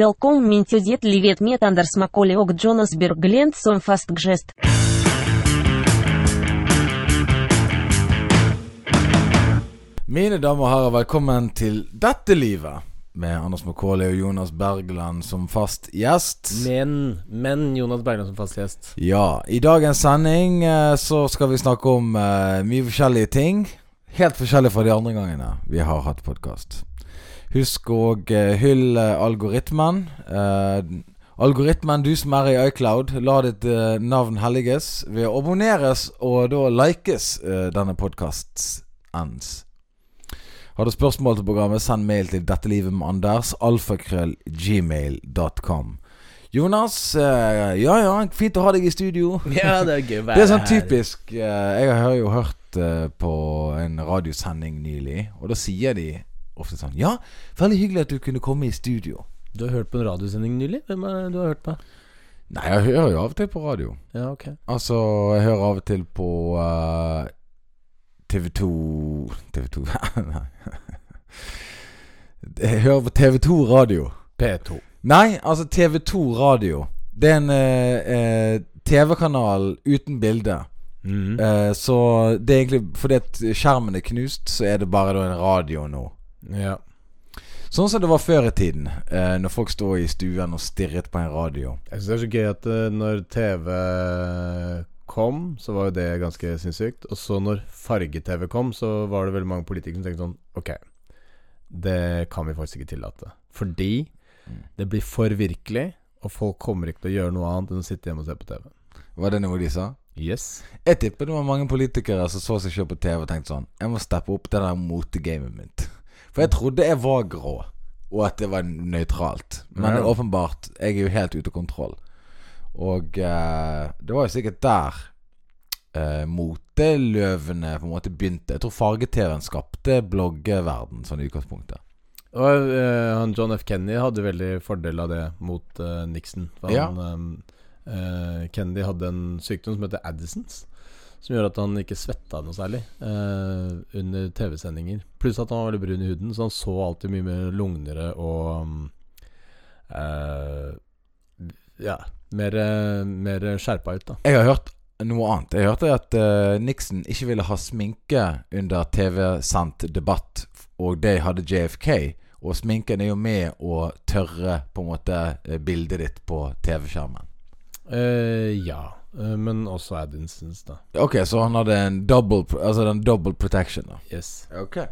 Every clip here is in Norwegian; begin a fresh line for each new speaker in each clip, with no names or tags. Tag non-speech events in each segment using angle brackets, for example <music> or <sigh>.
Velkommen min til ditt livet med Anders Macaulay og Jonas Berglund som fast gest.
Mine damer og herrer, velkommen til Dette livet med Anders Macaulay og Jonas Bergland som fast gjest.
Men, men Jonas Bergland som fast gjest.
Ja, i dagens sending eh, så skal vi snakke om eh, mye forskjellige ting. Helt forskjellig fra de andre gangene vi har hatt podkast. Husk å eh, hylle algoritmen. Eh, algoritmen, du som er i iCloud, la ditt eh, navn helliges ved å abonneres og da likes eh, denne podkastens. Har du spørsmål til programmet, send mail til dettelivetmedandersalfakrøllgmail.com. Jonas, eh, ja ja, fint å ha deg i studio.
<laughs> Ja, det er gøy å være
Det er sånn
her.
typisk eh, Jeg har jo hørt eh, på en radiosending nylig, og da sier de ofte sånn Ja, veldig hyggelig at du kunne komme i studio.
Du har hørt på en radiosending nylig? Hvem er det du har hørt på?
Nei, jeg hører jo av og til på radio.
Ja, ok.
Altså, jeg hører av og til på eh, TV2 TV2 <laughs> Nei. Jeg hører på TV2 radio.
P2.
Nei, altså TV2 radio. Det er en eh, eh, TV-kanal uten bilde.
Mm.
Eh, så det er egentlig fordi at skjermen er knust, så er det bare da en radio nå.
Ja.
Sånn som det var før i tiden, eh, når folk sto i stuen og stirret på en radio.
Jeg syns det er så gøy at eh, når TV kom, så var jo det ganske sinnssykt. Og så når farge-TV kom, så var det veldig mange politikere som tenkte sånn Ok, det kan vi faktisk ikke tillate. Fordi det blir for virkelig, og folk kommer ikke til å gjøre noe annet enn å sitte hjemme og se på TV.
Var det noe de sa?
Yes.
Jeg tipper det var mange politikere som så seg selv på TV og tenkte sånn Jeg må steppe opp det der motegamet mitt. For jeg trodde jeg var grå, og at det var nøytralt. Men
Ja.
åpenbart, jeg er jo helt ute av kontroll. Og eh, det var jo sikkert der eh, moteløvene på en måte begynte. Jeg tror farge-TV-en skapte bloggeverden sånn i utgangspunktet.
Og eh, han John F. Kennedy hadde veldig fordel av det mot eh, Nixon. For
Ja.
han, eh, eh, Kennedy hadde en sykdom som heter Addisons, som gjorde at han ikke svetta noe særlig eh, under TV-sendinger. Pluss at han var veldig brun i huden, så han så alltid mye mer lugnere og mm, eh, Ja, mer, eh, mer skjerpa ut, da.
Jeg har hørt noe annet. Jeg hørte at eh, Nixon ikke ville ha sminke under TV-sendt debatt, og det hadde JFK. Og sminken er jo med å tørre på en måte eh, bildet ditt på TV-skjermen.
Eh, ja, eh, men også Addisons, da.
Ok, så han hadde en double, pr- altså den double protection, da.
Yes.
Ok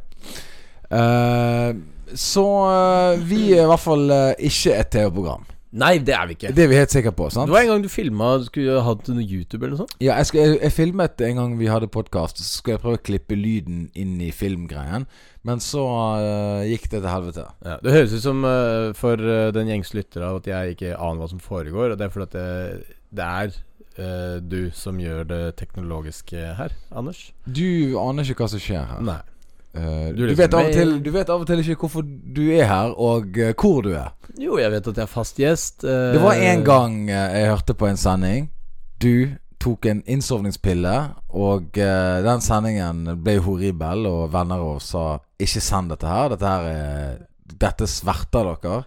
Så eh, vi er i hvert fall eh, ikke et TV-program.
Nei, det er vi ikke.
Det er vi helt sikre på, sant?
Det var en gang du filma du skulle hatt noe YouTube eller noe sånt.
Ja, jeg, skal, jeg, jeg filmet en gang vi hadde podkast, så skulle jeg prøve å klippe lyden inn i filmgreien, men så øh, gikk det til helvete.
Ja, det høres ut som eh, for eh, den gjengs lytter av at jeg ikke aner hva som foregår. Og det er fordi at det, det er eh, du som gjør det teknologiske her, Anders.
Du aner ikke hva som skjer her.
Nei.
Eh, du,
Du leser
vet av og til,
mail.
du vet av og til ikke hvorfor du er her, og eh, hvor du er.
Jo, jeg vet at jeg er fast gjest. eh,
Det var en gang eh, jeg hørte på en sending. Du tok en innsovningspille, og eh, den sendingen ble horribel, og venner av oss sa 'ikke send dette her', dette her er dette sverter dere.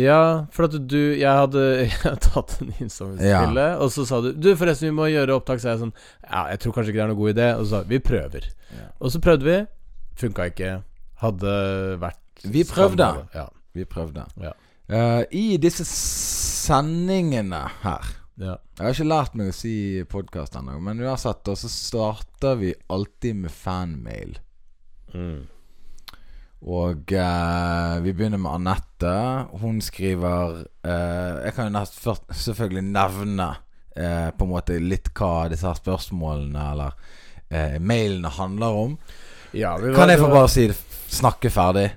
Ja, for at du Jeg hadde, <laughs> jeg hadde tatt en innsovningspille, og så sa du Du, forresten, vi må gjøre opptak. Så jeg sånn Ja, jeg tror kanskje ikke det er noen god idé. Og så sa vi vi prøver. Og så prøvde vi. Funka ikke. Hadde vært
Vi prøvde.
skandale. Ja.
Vi prøvde.
Ja.
Eh, I disse sendingene her
ja.
Jeg har ikke lært meg å si podkast ennå, men uansett, da, så starter vi alltid med fanmail. Mm. Og eh, vi begynner med Anette. Hun skriver eh, Jeg kan jo nest, først, selvfølgelig nevne eh, på en måte litt hva disse her spørsmålene eller eh, mailene handler om.
Ja, vi var-
Kan jeg
det
få
var-
bare si det? Snakke ferdig?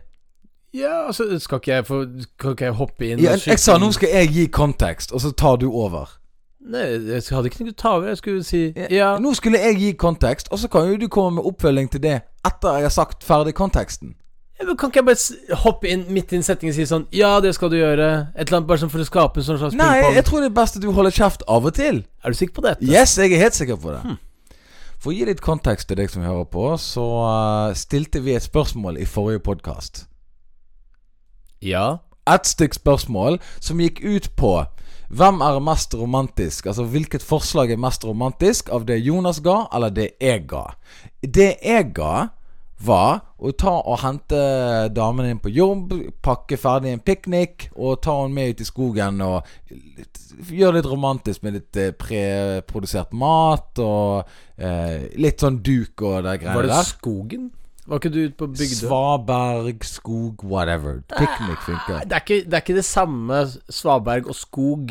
Ja, altså, skal ikke jeg få Kan ikke jeg hoppe inn? og
Jeg, jeg sa
skyte inn-
nå skal jeg gi kontekst, og så tar du over.
Nei, jeg hadde ikke tenkt å ta over. Jeg skulle si Ja.
Nå skulle jeg gi kontekst, og så kan jo du komme med oppfølging til det etter jeg har sagt ferdig konteksten.
Ja, men Kan ikke jeg bare s- hoppe inn midt i en setning og si sånn Ja, det skal du gjøre. Et eller annet bare sånn for å skape en sånn slags
Nei,
ping-pong.
jeg tror det er best at du holder kjeft av og til. Hmm.
Er du sikker på dette?
Yes, jeg er helt sikker på det. For å gi litt kontekst til deg som hører på, så eh, stilte vi et spørsmål i forrige podkast.
Ja.
ett stykk spørsmål som gikk ut på hvem er mest romantisk? Altså hvilket forslag er mest romantisk av det Jonas ga, eller det jeg ga? Det jeg ga, var å ta og hente damen inn på jobb, pakke ferdig en piknik og ta henne med ut i skogen og litt, gjøre litt romantisk med litt eh, preprodusert mat og eh, litt sånn duk og det
Var
greiene
det
der.
skogen? Var ikke du ute på Bygdøy?
Svaberg, skog, whatever. Piknik funker.
Nei, det er, ikke, det er ikke det samme svaberg og skog.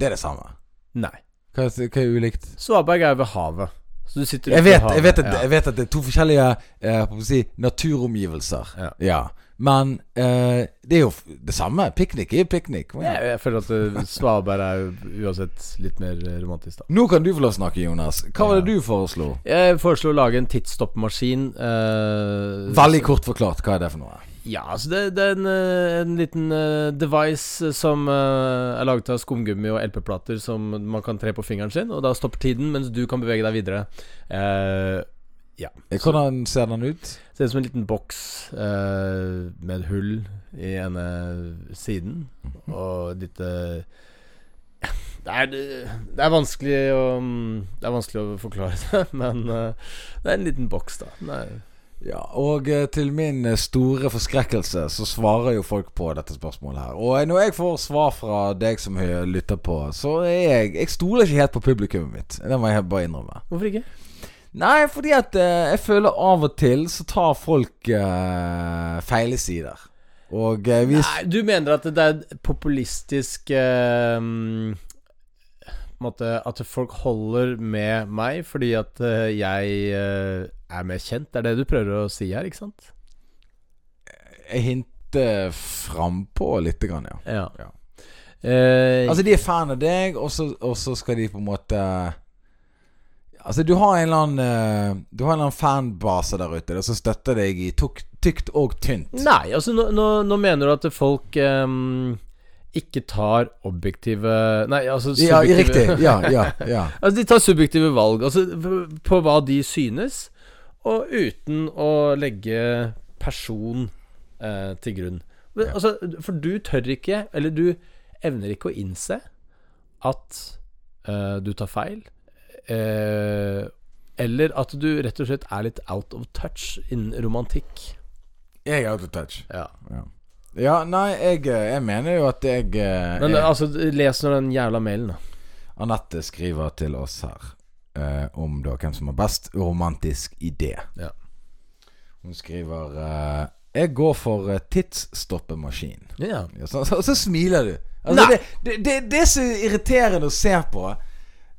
Det er det samme.
Nei.
Hva, er- hva er ulikt?
Svaberg er jo ved havet. Så du sitter ute
Jeg
ved
vet,
havet,
jeg, vet at,
ja.
jeg vet at det er to forskjellige eh, hva skal jeg si, naturomgivelser.
Ja.
Men eh, det er jo f- det samme. Piknik er jo piknik. Kom igjen.
Jeg, jeg føler at eh, svaberg er jo uansett litt mer eh, romantisk, da.
Nå kan du få lov å snakke, Jonas. Hva var det du foreslo?
Jeg foreslo å lage en tidsstoppmaskin. eh,
Veldig kort forklart, hva er det for noe?
Ja, altså det, det er en, eh, en liten eh, device som eh, er laget av skumgummi og LP-plater som man kan tre på fingeren sin, og da stopper tiden mens du kan bevege deg videre. Eh,
Hvordan ser den ut?
ser ut som en liten boks eh, med et hull i ene siden, og et lite Ja, det er, det er vanskelig å Det er vanskelig å forklare det, <laughs> men eh, det er en liten boks, da. Den er-
Ja, og eh, til min eh, store forskrekkelse så svarer jo folk på dette spørsmålet her. Og eh, når jeg får svar fra deg som hø- lytter på, så er jeg Jeg stoler ikke helt på publikummet mitt. Det må jeg helt bare innrømme.
Hvorfor ikke?
Nei, fordi at eh, jeg føler av og til så tar folk eh, feile sider. Og eh, vi
Nei, du mener at det er et populistisk eh, mm, på en måte, At folk holder med meg fordi at eh, jeg eh, er mer kjent? Det er det du prøver å si her, ikke sant?
jeg hinter frampå litt, grann, ja.
Ja.
Ja.
Eh,
Altså, de er fan av deg, og så, og så skal de på en måte Altså, du har en eller annen eh, Du har en eller annen fanbase der ute og som støtter deg i tuk, tykt og tynt.
nei, altså nå, nå, nå mener du at folk eh, ikke tar objektive Nei, altså
Ja,
subjektive-
riktig. Ja, ja, ja.
Altså, de tar subjektive valg altså, f- på hva de synes, og uten å legge person eh, til grunn. Men,
Ja.
altså, for du tør ikke, eller du evner ikke å innse at eh, du tar feil, eh, eller at du rett og slett er litt out of touch innen romantikk.
<laughs> Jeg er out of touch.
Ja.
Ja, nei, jeg, eh, jeg mener jo at jeg eh,
Men
er-
altså, les nå den jævla mailen, da.
Anette skriver til oss her eh, om da hvem som har best romantisk idé.
Ja.
Hun skriver eh, 'Jeg går for eh, tidsstoppemaskin'.
Ja.
Ja, så, så, så smiler du. Altså,
Nei.
det, det, det, det er så irriterende å se på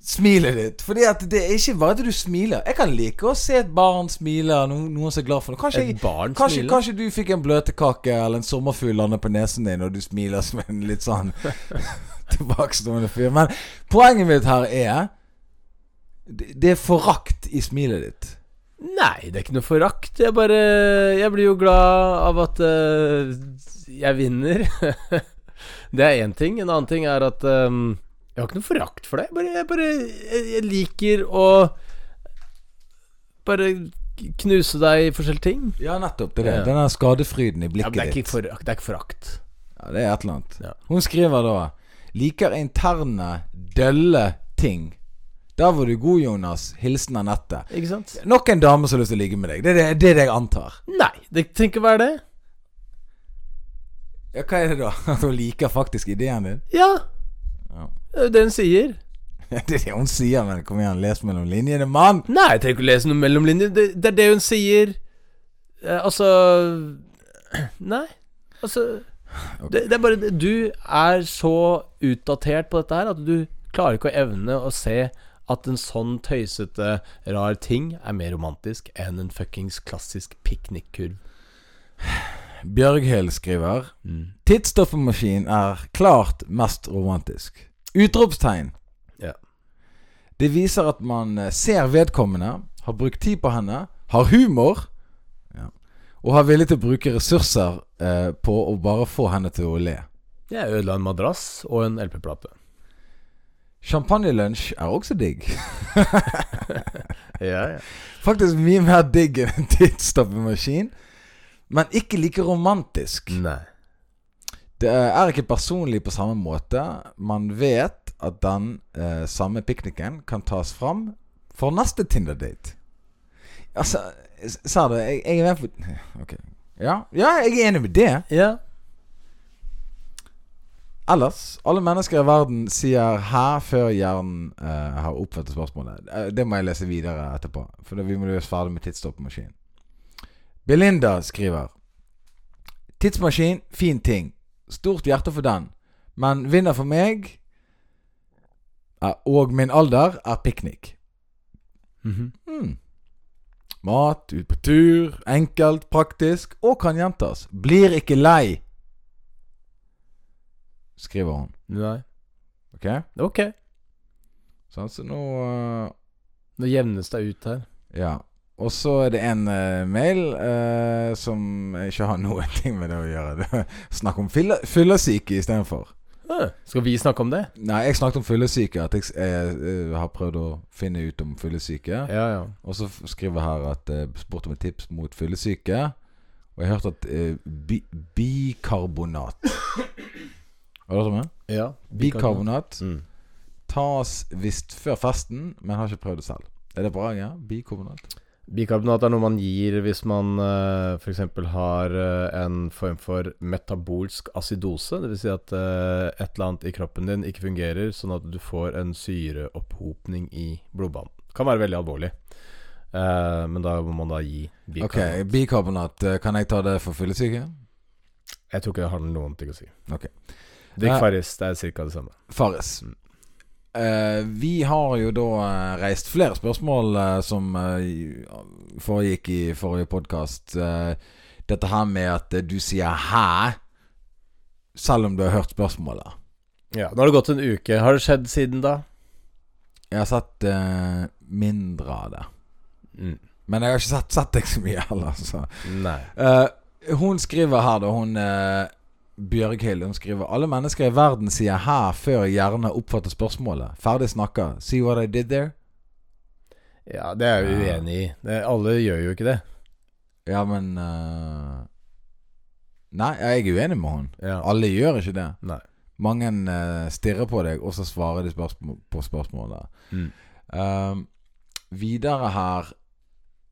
smilet ditt. Fordi at det er ikke bare at du smiler. Jeg kan like å se et barn smile, noen, noen som er glad for noe. Kanskje,
Et
jeg-
barn
kanskje,
smiler?
kanskje du fikk en bløtkake eller en sommerfugl lande på nesen din, og du smiler som en litt sånn <laughs> tilbakestående fyr. Men poenget mitt her er Det, det er forakt i smilet ditt.
Nei, det er ikke noe forakt. Jeg bare Jeg blir jo glad av at eh, jeg vinner. <laughs> det er én ting. En annen ting er at eh, Jeg har ikke noe forakt for det. Jeg bare, jeg bare jeg, jeg liker å bare knuse deg i forskjellige ting.
Ja, nettopp. Det er det.
Ja.
Den der skadefryden i
Ja,
blikket
men det er
ditt.
ikke forakt. Det er ikke forakt.
Ja, det er et eller annet.
Ja.
Hun skriver da Liker interne, dølle ting. Der var du god, Jonas. Hilsen Anette.
Ikke sant?
Nok en dame som har lyst til å ligge med deg. Det er det, det, er det jeg antar.
Nei, det trenger ikke være det.
Ja, Hva er det da? <laughs> At hun liker faktisk ideen din? <laughs>
Ja.
Ja.
Det er jo det hun sier.
Det er det hun sier, men kom igjen, les mellom linjene, mann!
Nei, jeg trenger ikke å lese noen mellomlinjer. Det, det er det hun sier. Eh, altså <clears throat> Nei. Altså det, det er bare det- Du er så utdatert på dette her at du klarer ikke å evne å se at en sånn tøysete, rar ting er mer romantisk enn en fuckings klassisk piknikkurv.
Bjørghild skriver Tidsstoffmaskin er klart mest romantisk. Utropstegn.
Ja.
Det viser at man eh, ser vedkommende, har brukt tid på henne, har humor ja, og har villig til å bruke ressurser eh, på å bare få henne til å le.
Jeg ødela en madrass og en LP-plate.
Champagnelunsj er også digg. <laughs>
Ja, ja.
Faktisk mye mer digg enn en tidsstoppemaskin, men ikke like romantisk.
Nei.
Det er ikke personlig på samme måte. Man vet at den eh, samme pikniken kan tas fram for neste Tinder-date. Altså, s- sa du jeg, jeg er med på <laughs> Ok. Ja. ja, jeg er enig med det.
Ja.
Ellers, alle mennesker i verden sier 'hæ' før hjernen eh, har oppfattet spørsmålet. Eh, Det må jeg lese videre etterpå, for da vi må gjøre oss ferdig med tidsstoppmaskinen. Belinda skriver Tidsmaskin, fin ting. Stort hjerte for den. Men vinner for meg eh, og min alder er piknik.
Mhm.
Hmm. Mat, ut på tur, enkelt, praktisk og kan gjentas. Blir ikke lei, skriver hun.
Nei.
Ok?
Ok.
Sånn, så nå øh,
Nå jevnes det ut her.
Ja. Og så er det en øh, mail øh, som ikke har <laughs> noen ting med det å gjøre. Det er Snakk om fylla- fyllesyke istedenfor.
Ah, Skal vi snakke om det?
Nei, jeg snakket om fyllesyke. At jeg, s- jeg øh, har prøvd å finne ut om fyllesyke.
Ja, ja.
Og så f- skriver jeg her at jeg spurte om et tips mot fyllesyke. Og jeg har hørt at øh, bi bikarbonat Har du hørt om det?
ja.
Bikarbonat
Mm.
tas visst før festen, men har ikke prøvd det selv. Er det bra? Ja? Bikarbonat?
Bikarbonat er noe man gir hvis man eh, for f.eks. har eh, en form for metabolsk acidose. Dvs. Si at eh, et eller annet i kroppen din ikke fungerer, sånn at du får en syreopphopning i blodbanen. Kan være veldig alvorlig. Eh, men da må man da gi
Ok,
bikarbonat.
bikarbonat. eh, Kan jeg ta det for fyllesyke?
Jeg tror ikke det har noen ting å si.
Ok.
Drikk
Eh,
Farris, det er ca. det samme.
Farris.
Mm.
Eh, vi har jo da eh, reist flere spørsmål eh, som eh, i- foregikk i forrige podkast. dette her med at eh, du sier 'hæ' selv om du har hørt spørsmålet.
Ja, Nå har det gått en uke. Har det skjedd siden da?
Jeg har sett eh, mindre av det.
Mm.
Men jeg har ikke sett, sett deg så mye heller. Så.
Nei.
Eh, hun skriver her, da. Hun eh, Bjørghild. Hun skriver Alle mennesker i verden sier 'her' før hjernen oppfatter spørsmålet. Ferdig snakka. See what I did there?
Ja, det er jeg jo
Ja.
uenig i. Det, alle gjør jo ikke det.
Ja, men eh, Nei, jeg er uenig med hun.
Ja.
Alle gjør ikke det.
Nei.
Mange eh, stirrer på deg, og så svarer de spørsmål, på spørsmålet.
Mm.
Ehm, videre her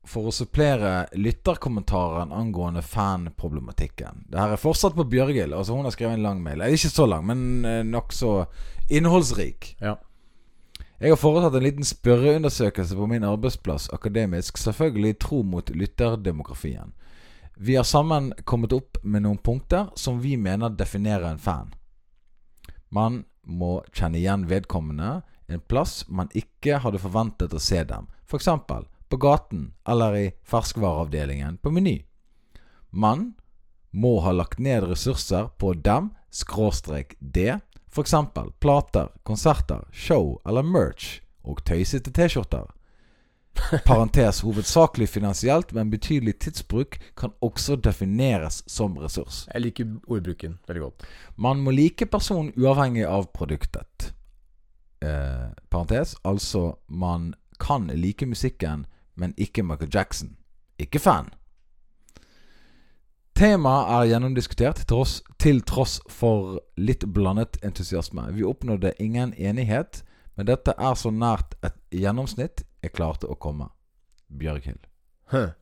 For å supplere lytterkommentaren angående fanproblematikken. Det her er fortsatt på Bjørgil. Altså Hun har skrevet en lang mail. Eh, Ikke så lang, men nokså innholdsrik.
Ja.
Jeg har foretatt en liten spørreundersøkelse på min arbeidsplass, akademisk, selvfølgelig tro mot lytterdemografien. Vi har sammen kommet opp med noen punkter som vi mener definerer en fan. Man må kjenne igjen vedkommende, en plass man ikke hadde forventet å se dem, f.eks. på gaten eller i ferskvareavdelingen på Meny. Man må ha lagt ned ressurser på dem, skråstrek det, f.eks. plater, konserter, show eller merch, og tøysete T-skjorter. Parentes hovedsakelig finansielt, men betydelig tidsbruk kan også defineres som ressurs.
Jeg liker ordbruken veldig godt.
Man må like personen uavhengig av produktet. Eh, parentes, altså man kan like musikken, men ikke Michael Jackson. Ikke fan. Temaet er gjennomdiskutert tross, til tross for litt blandet entusiasme. Vi oppnådde ingen enighet, men dette er så nært et gjennomsnitt jeg klarte å komme. Bjørghild.
Huh.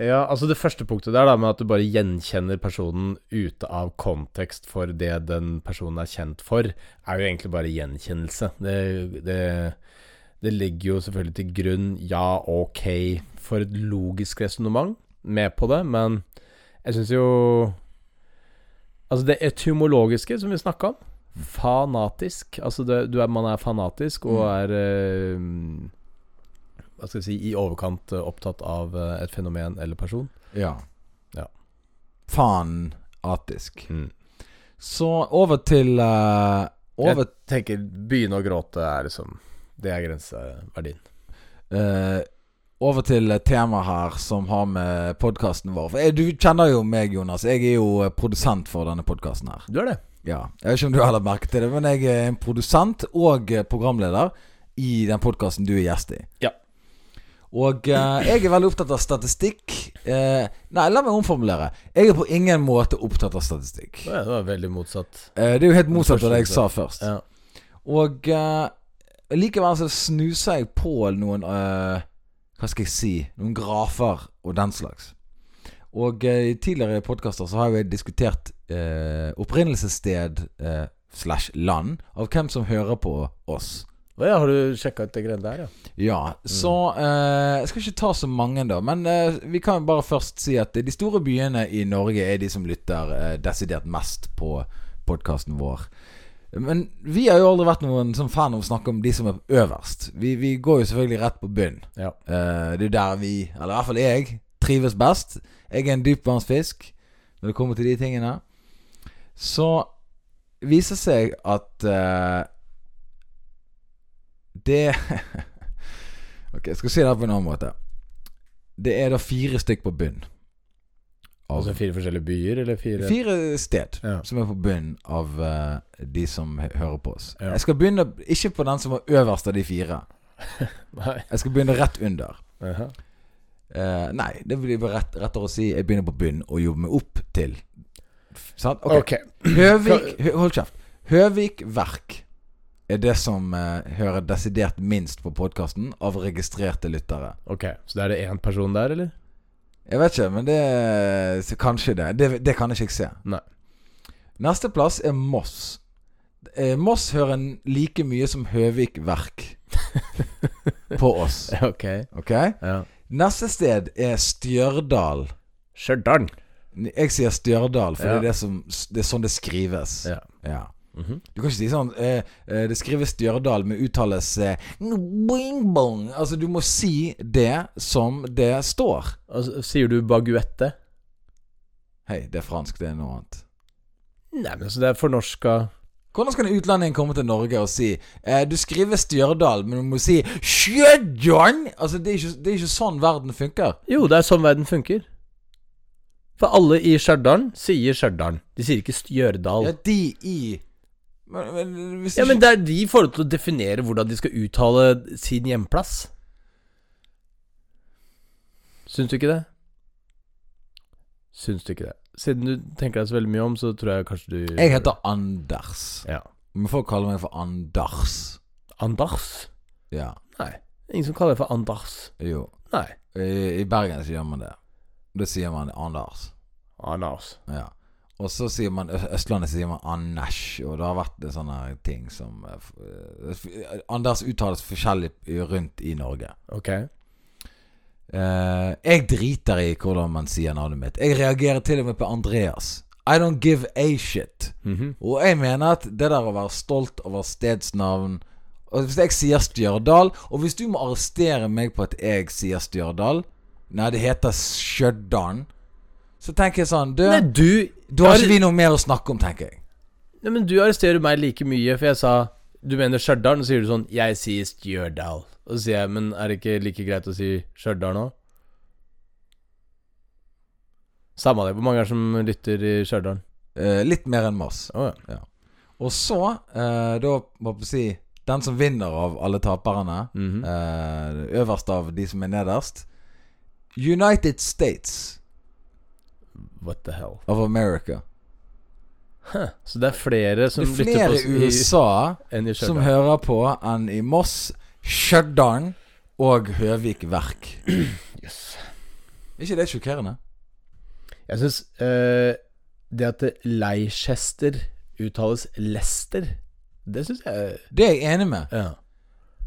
Ja, altså Det første punktet der da med at du bare gjenkjenner personen ute av kontekst for det den personen er kjent for, er jo egentlig bare gjenkjennelse. Det, det, det ligger jo selvfølgelig til grunn, ja, ok, for et logisk resonnement med på det, men jeg syns jo Altså det etymologiske som vi snakka om, fanatisk. Altså det, du er, man er fanatisk og er eh, hva skal jeg si, i overkant eh, opptatt av eh, et fenomen eller person.
Ja.
Ja.
Fanatisk.
Mm.
Så over til eh, Over
Jeg tenker begynne å gråte er liksom Det er grenseverdien.
Eh, over til et tema her som har med podkasten vår For eh, Du kjenner jo meg, Jonas. Jeg er jo eh, produsent for denne podkasten her.
Du er det.
Ja, Jeg vet ikke om du har lagt merke til det, men jeg er en produsent og eh, programleder i den podkasten du er gjest i.
Ja.
Og eh, jeg er veldig opptatt av statistikk eh, Nei, la meg omformulere. Jeg er på ingen måte opptatt av statistikk.
Ja, det var veldig motsatt.
Eh, det er jo helt motsatt av det jeg sa først.
Ja.
Og eh, likevel så snuser jeg på noen eh, Hva skal jeg si Noen grafer og den slags. Og eh, i tidligere podkaster så har jo jeg diskutert eh, opprinnelsessted eh, slash land av hvem som hører på oss.
Å ja, har du sjekka ut det greiene der, ja?
Ja, så eh, Jeg skal ikke ta så mange, da. Men eh, vi kan bare først si at de store byene i Norge er de som lytter eh, desidert mest på podkasten vår. Men vi har jo aldri vært noen sånn fan av å snakke om de som er øverst. Vi, vi går jo selvfølgelig rett på bunn.
Ja.
Eh, det er der vi, eller i hvert fall jeg, trives best. Jeg er en dypvannsfisk når det kommer til de tingene. Så viser seg at eh, det <laughs> Ok, jeg skal si det her på en annen måte. Det er da fire stykk på bunn. Av-
Altså fire forskjellige byer, eller fire
Fire sted
Ja.
som er på bunnen av eh, de som hø- hører på oss.
Ja.
Jeg skal begynne ikke på den som var øverst av de fire.
<laughs> Nei.
Jeg skal begynne rett under.
Aha.
Eh, nei, det blir bare rett, rettere å si jeg begynner på bunnen og jobber meg opp til. F- Sant? Ok.
Ok.
<clears throat> Høvik hø, Hold kjeft. Høvik Verk er det som eh, hører desidert minst på podkasten av registrerte lyttere.
ok, Så da er det én person der, eller?
Jeg vet ikke, men det så Kanskje det. det. Det kan ikke jeg se.
Nei.
Neste plass er Moss. Eh, Moss hører n- like mye som Høvik
<laughs>
Verk på oss.
<laughs> Ok.
Ok?
Ja.
Neste sted er Stjørdal.
Stjørdal.
N- Jeg sier Stjørdal, for
Ja.
det, er det, som, s- det er sånn det skrives.
Ja.
Ja.
Mhm.
Du kan ikke si sånn eh, eh, Det skrives Stjørdal, men uttales eh, boing, boing. Altså, du må si det som det står.
Altså, sier du baguette?
Hei, det er fransk, det er noe annet.
Nei, men altså, det er fornorska
Hvordan skal en utlending komme til Norge og si eh, Du skriver Stjørdal, men du må si Stjørdal! Altså, det er, ikke, det er ikke sånn verden funker.
Jo, det er sånn verden funker. For alle i Stjørdal sier Stjørdal. De sier ikke Stjørdal.
Ja, de i Men, men, hvis
Ja, men
ikke,
det er de i forhold til å definere hvordan de skal uttale sin hjemplass. Syns du ikke det? Syns du ikke det? Siden du tenker deg så veldig mye om, så tror jeg kanskje du
Jeg heter Anders.
Ja.
Men folk kaller meg for Anders.
Anders?
Ja,
Nei. Ingen som kaller deg for Anders.
jo.
Nei.
I, i Bergen så gjør man det. Da sier man Anders.
Anders.
Ja. Og så sier man Ø- Østlandet sier man Anders, og det har vært en sånn her ting som eh, f- eh, Anders uttales forskjellig rundt i Norge.
Ok.
Eh, jeg driter i hvordan man sier navnet mitt. Jeg reagerer til og med på Andreas. I don't give a shit.
Mhm.
Og jeg mener at det der å være stolt over stedsnavn Og Hvis jeg sier Stjørdal, og hvis du må arrestere meg på at jeg sier Stjørdal Nei, det heter Stjørdalen. Så tenker jeg sånn Du,
Nei, du
da har ikke vi noe mer å snakke om, tenker jeg.
Nei, men du arresterer meg like mye, for jeg sa Du mener Stjørdal, og så sier du sånn Jeg sier Stjørdal. Og så sier jeg, men er det ikke like greit å si Stjørdal nå? Samme det. Hvor mange er det som lytter i Stjørdal?
Eh, litt mer enn Moss.
Å ja.
Og så, eh, da må jeg si Den som vinner av alle taperne,
Mhm.
eh, øverst av de som er nederst. United States
What the hell.
of America.
Huh. Så det er flere som
Det er
lytter på
flere
oss
i USA
i, enn i
som
Stjørdal.
hører på enn i Moss, Stjørdal og Høvik Verk.
<clears throat> Yes.
Er ikke det sjokkerende?
Jeg syns eh, det at det Leicester uttales Lester, det syns jeg
Det er jeg enig med.
Ja.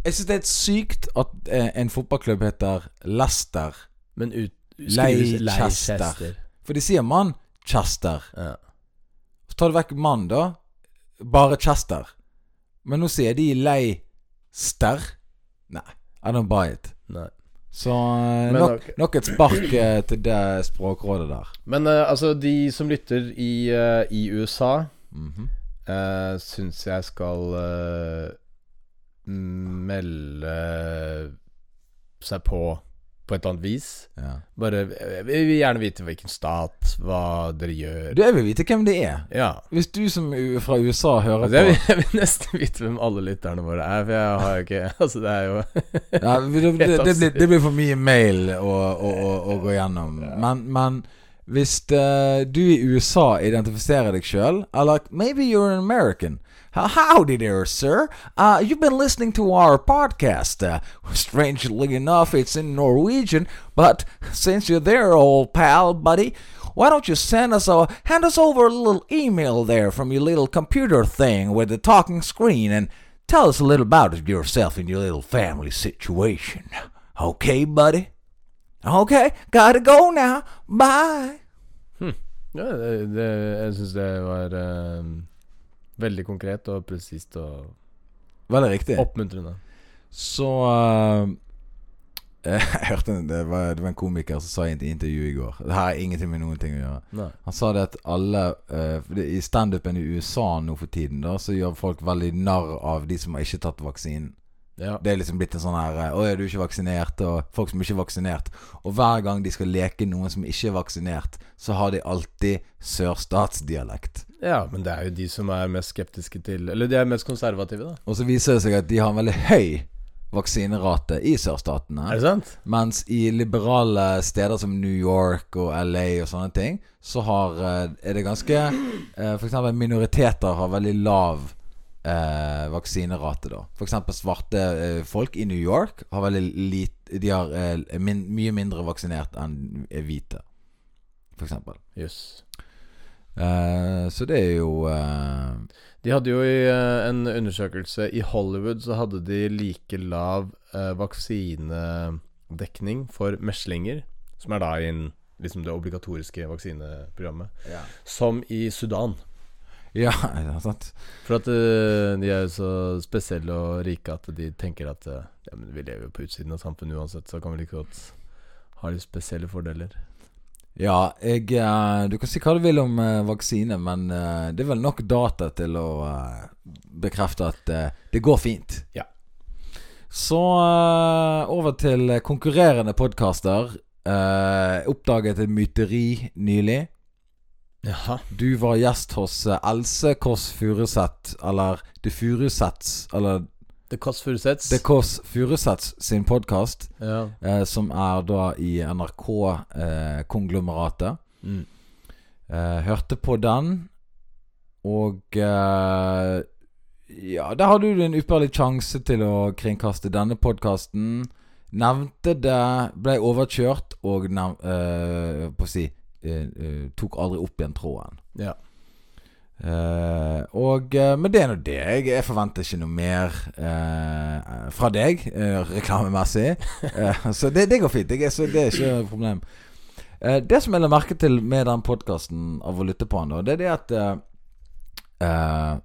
Jeg syns det er helt sykt at eh, en fotballklubb heter Leicester.
Men ut, skrives
Leicester.
Leicester.
For de sier mann Chester.
Ja.
Så tar du vekk mann, da. Bare Chester. Men nå sier de Leicester. Nei, I don't buy it.
Nei.
Så eh,
Men
nok,
ok.
nok et spark eh, til det språkrådet der.
Men eh, altså, de som lytter i, eh, i USA,
Mhm.
uh, syns jeg skal eh, melde seg på på et eller annet vis.
Ja.
Bare Vi vi vil gjerne vite hvilken stat, hva dere gjør.
Du, jeg vil vite hvem det er.
Ja.
Hvis du som er fra USA hører
Altså,
på
jeg, vil, <laughs> jeg vil nesten vite hvem alle lytterne våre er, for jeg har jo ikke <laughs> Altså, det er jo
ja,
<laughs>
det, det, det, blir, det blir for mye mail å, å, å, å gå gjennom. Men, men hvis eh, du i USA identifiserer deg sjøl, eller maybe you're an American Howdy there, sir. Uh, you've been listening to our podcast. Uh, strangely enough, it's in Norwegian, but since you're there, old pal, buddy, why don't you send us a hand us over a little email there from your little computer thing with the talking screen and Tell us a little about yourself and your little family situation. Okay, buddy? Okay, gotta go now. Bye.
Ja, det, det, jeg syns det var eh, veldig konkret og presist og
Veldig riktig.
oppmuntrende.
Så eh, <laughs> Jeg hørte en- det var, det var en komiker som sa i et intervju i går Det her har ingenting med noen ting å gjøre.
Nei.
Han sa det at alle eh, for det- I standupen i USA nå for tiden da Så gjør folk veldig narr av de som har ikke tatt vaksinen.
Ja.
Det er liksom blitt en sånn her eh, Å, er du ikke vaksinert? Og folk som ikke er vaksinert. Og hver gang de skal leke noen som ikke er vaksinert, så har de alltid sørstatsdialekt.
ja, men det er jo de som er mest skeptiske til Eller de er mest konservative, da.
Og så viser det seg at de har en veldig høy vaksinerate i sørstatene.
Er det sant?
Mens i liberale steder som New York og LA og sånne ting, så har, eh, er det ganske eh, For eksempel minoriteter har veldig lav eh, vaksinerate, da. For eksempel svarte eh, folk i New York har veldig lit, De har eh, min, mye mindre vaksinert enn eh, hvite, for eksempel.
Jøss.
Eh, så det er jo eh,
De hadde jo i eh, en undersøkelse I Hollywood så hadde de like lav eh, vaksinedekning for meslinger, som er da i en, liksom det obligatoriske vaksineprogrammet,
Ja.
som i Sudan.
Ja, <laughs> sant?
For at eh, de er jo så spesielle og rike at de tenker at eh, ja, men vi lever jo på utsiden av samfunnet uansett, så kan vi like godt ha litt spesielle fordeler.
Ja, jeg eh, Du kan si hva du vil om eh, vaksine, men eh, det er vel nok data til å eh, bekrefte at eh, det går fint.
Ja.
Så eh, over til eh, konkurrerende podkaster. Eh, oppdaget et myteri nylig.
Jaha.
Du var gjest hos eh, Else Kåss Furuseth, eller The Furuseths, eller
The Kåss Furuseths.
The Kåss Furuseths sin podkast,
Ja.
eh, som er da i eh, NRK-konglomeratet.
Mm.
Eh, hørte på den, og eh, Ja, der hadde du en ypperlig sjanse til å kringkaste denne podkasten. Nevnte det, ble overkjørt og nev, eh, på å si eh, eh, Tok aldri opp igjen tråden.
Ja.
Eh, og eh, Men det er nå det. Jeg, jeg forventer ikke noe mer eh, fra deg eh, reklamemessig. Eh, så det, det går fint. Jeg, er- så det er ikke noe problem. Eh, det som jeg la merke til med den podkasten av å lytte på den, da, det er det at eh, eh,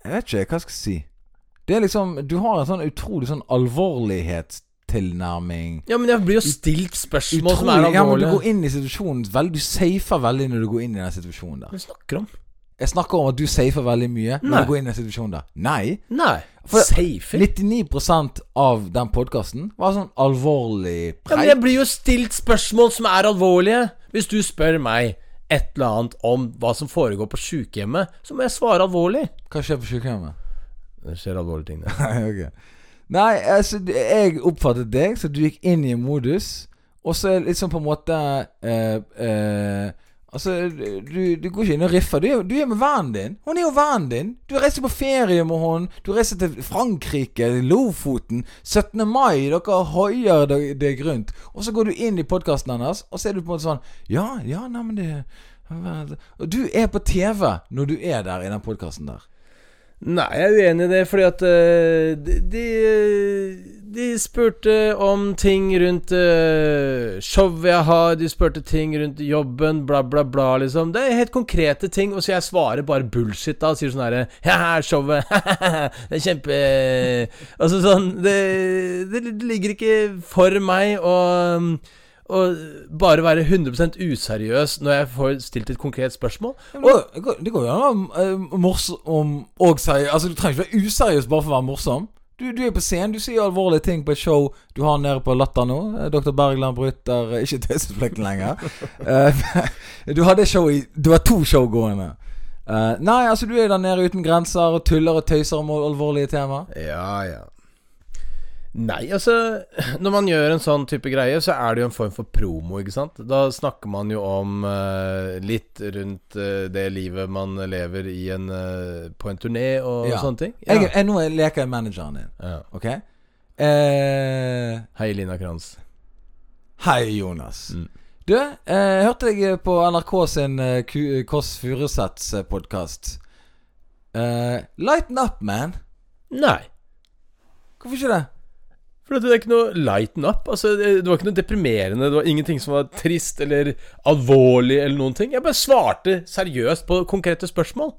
Jeg vet ikke hva jeg skal si. Det er liksom Du har en sånn utrolig sånn alvorlighetstilnærming.
ja, men jeg blir jo stilt spørsmål som er
Utrolig, ja, men du går
alvorlige.
inn i situasjonen veldig, Du safer veldig når du går inn i den situasjonen der.
Hva snakker du om?
Jeg snakker om at du safer veldig mye når
Nei.
du går inn i den situasjonen der. Nei.
Nei.
For-
Safer?
99 av den podkasten var sånn alvorlig
Ja, men
preik.
jeg blir jo stilt spørsmål som er alvorlige. Hvis du spør meg et eller annet om hva som foregår på sjukehjemmet, så må jeg svare alvorlig.
Hva skjer på sykehjemmet?
Det skjer alvorlige ting, det.
<laughs> Ok. Nei, altså du- jeg oppfattet deg, så du gikk inn i en modus, og så er det liksom på en måte eh, eh, Altså, du, du går ikke inn og riffer. Du er, du er med vennen din. Hun er jo vennen din. Du reiser på ferie med henne. Du reiser til Frankrike, til Lofoten. 17. mai. Dere hoier deg deg rundt. Og så går du inn i podkasten hennes, og så er du på en måte sånn Ja, ja, nei, men det Og du er på TV når du er der i den podkasten der.
Nei, jeg er uenig i det, fordi at eh, de, de, de spurte om ting rundt uh, showet jeg har, de spurte ting rundt jobben, bla, bla, bla, liksom. Det er helt konkrete ting, og så jeg svarer bare bullshit da, og sier sånn herre Haha, showet, <laughs> det er kjempe Altså sånn det, det ligger ikke for meg å å bare være 100 useriøs når jeg får stilt et konkret spørsmål.
Ja, men det går- det går jo an å være eh, morsom og seriøs. Altså, du trenger ikke være useriøs bare for å være morsom. Du, du er på scenen, du sier alvorlige ting på et show du har nede på Latter nå. Eh, Dr. Bergland bryter eh, ikke <laughs> taushetsplikten lenger. Eh, <laughs> du hadde show i Du har to show gående. Eh, nei, altså du er der nede uten grenser og tuller og tøyser om alvorlige temaer.
Ja, ja. Nei, altså Når man gjør en sånn type greie, så er det jo en form for promo, ikke sant? Da snakker man jo om eh, litt rundt eh, det livet man lever i en, eh, på en turné og
Ja.
sånne ting. Ja.
Jeg, jeg, nå leker jeg manageren din,
ja.
OK? Eh,
Hei, Lina Kranz.
hei, Jonas.
Mm.
Du, eh, jeg hørte deg på NRK sin eh, Ku- Kåss Furuseths-podkast. Eh, lighten up, man.
Nei.
Hvorfor ikke det? <laughs>
For at det er ikke noe lighten up. Altså, det det var ikke noe deprimerende. Det var ingenting som var trist eller alvorlig eller noen ting. Jeg bare svarte seriøst på konkrete spørsmål.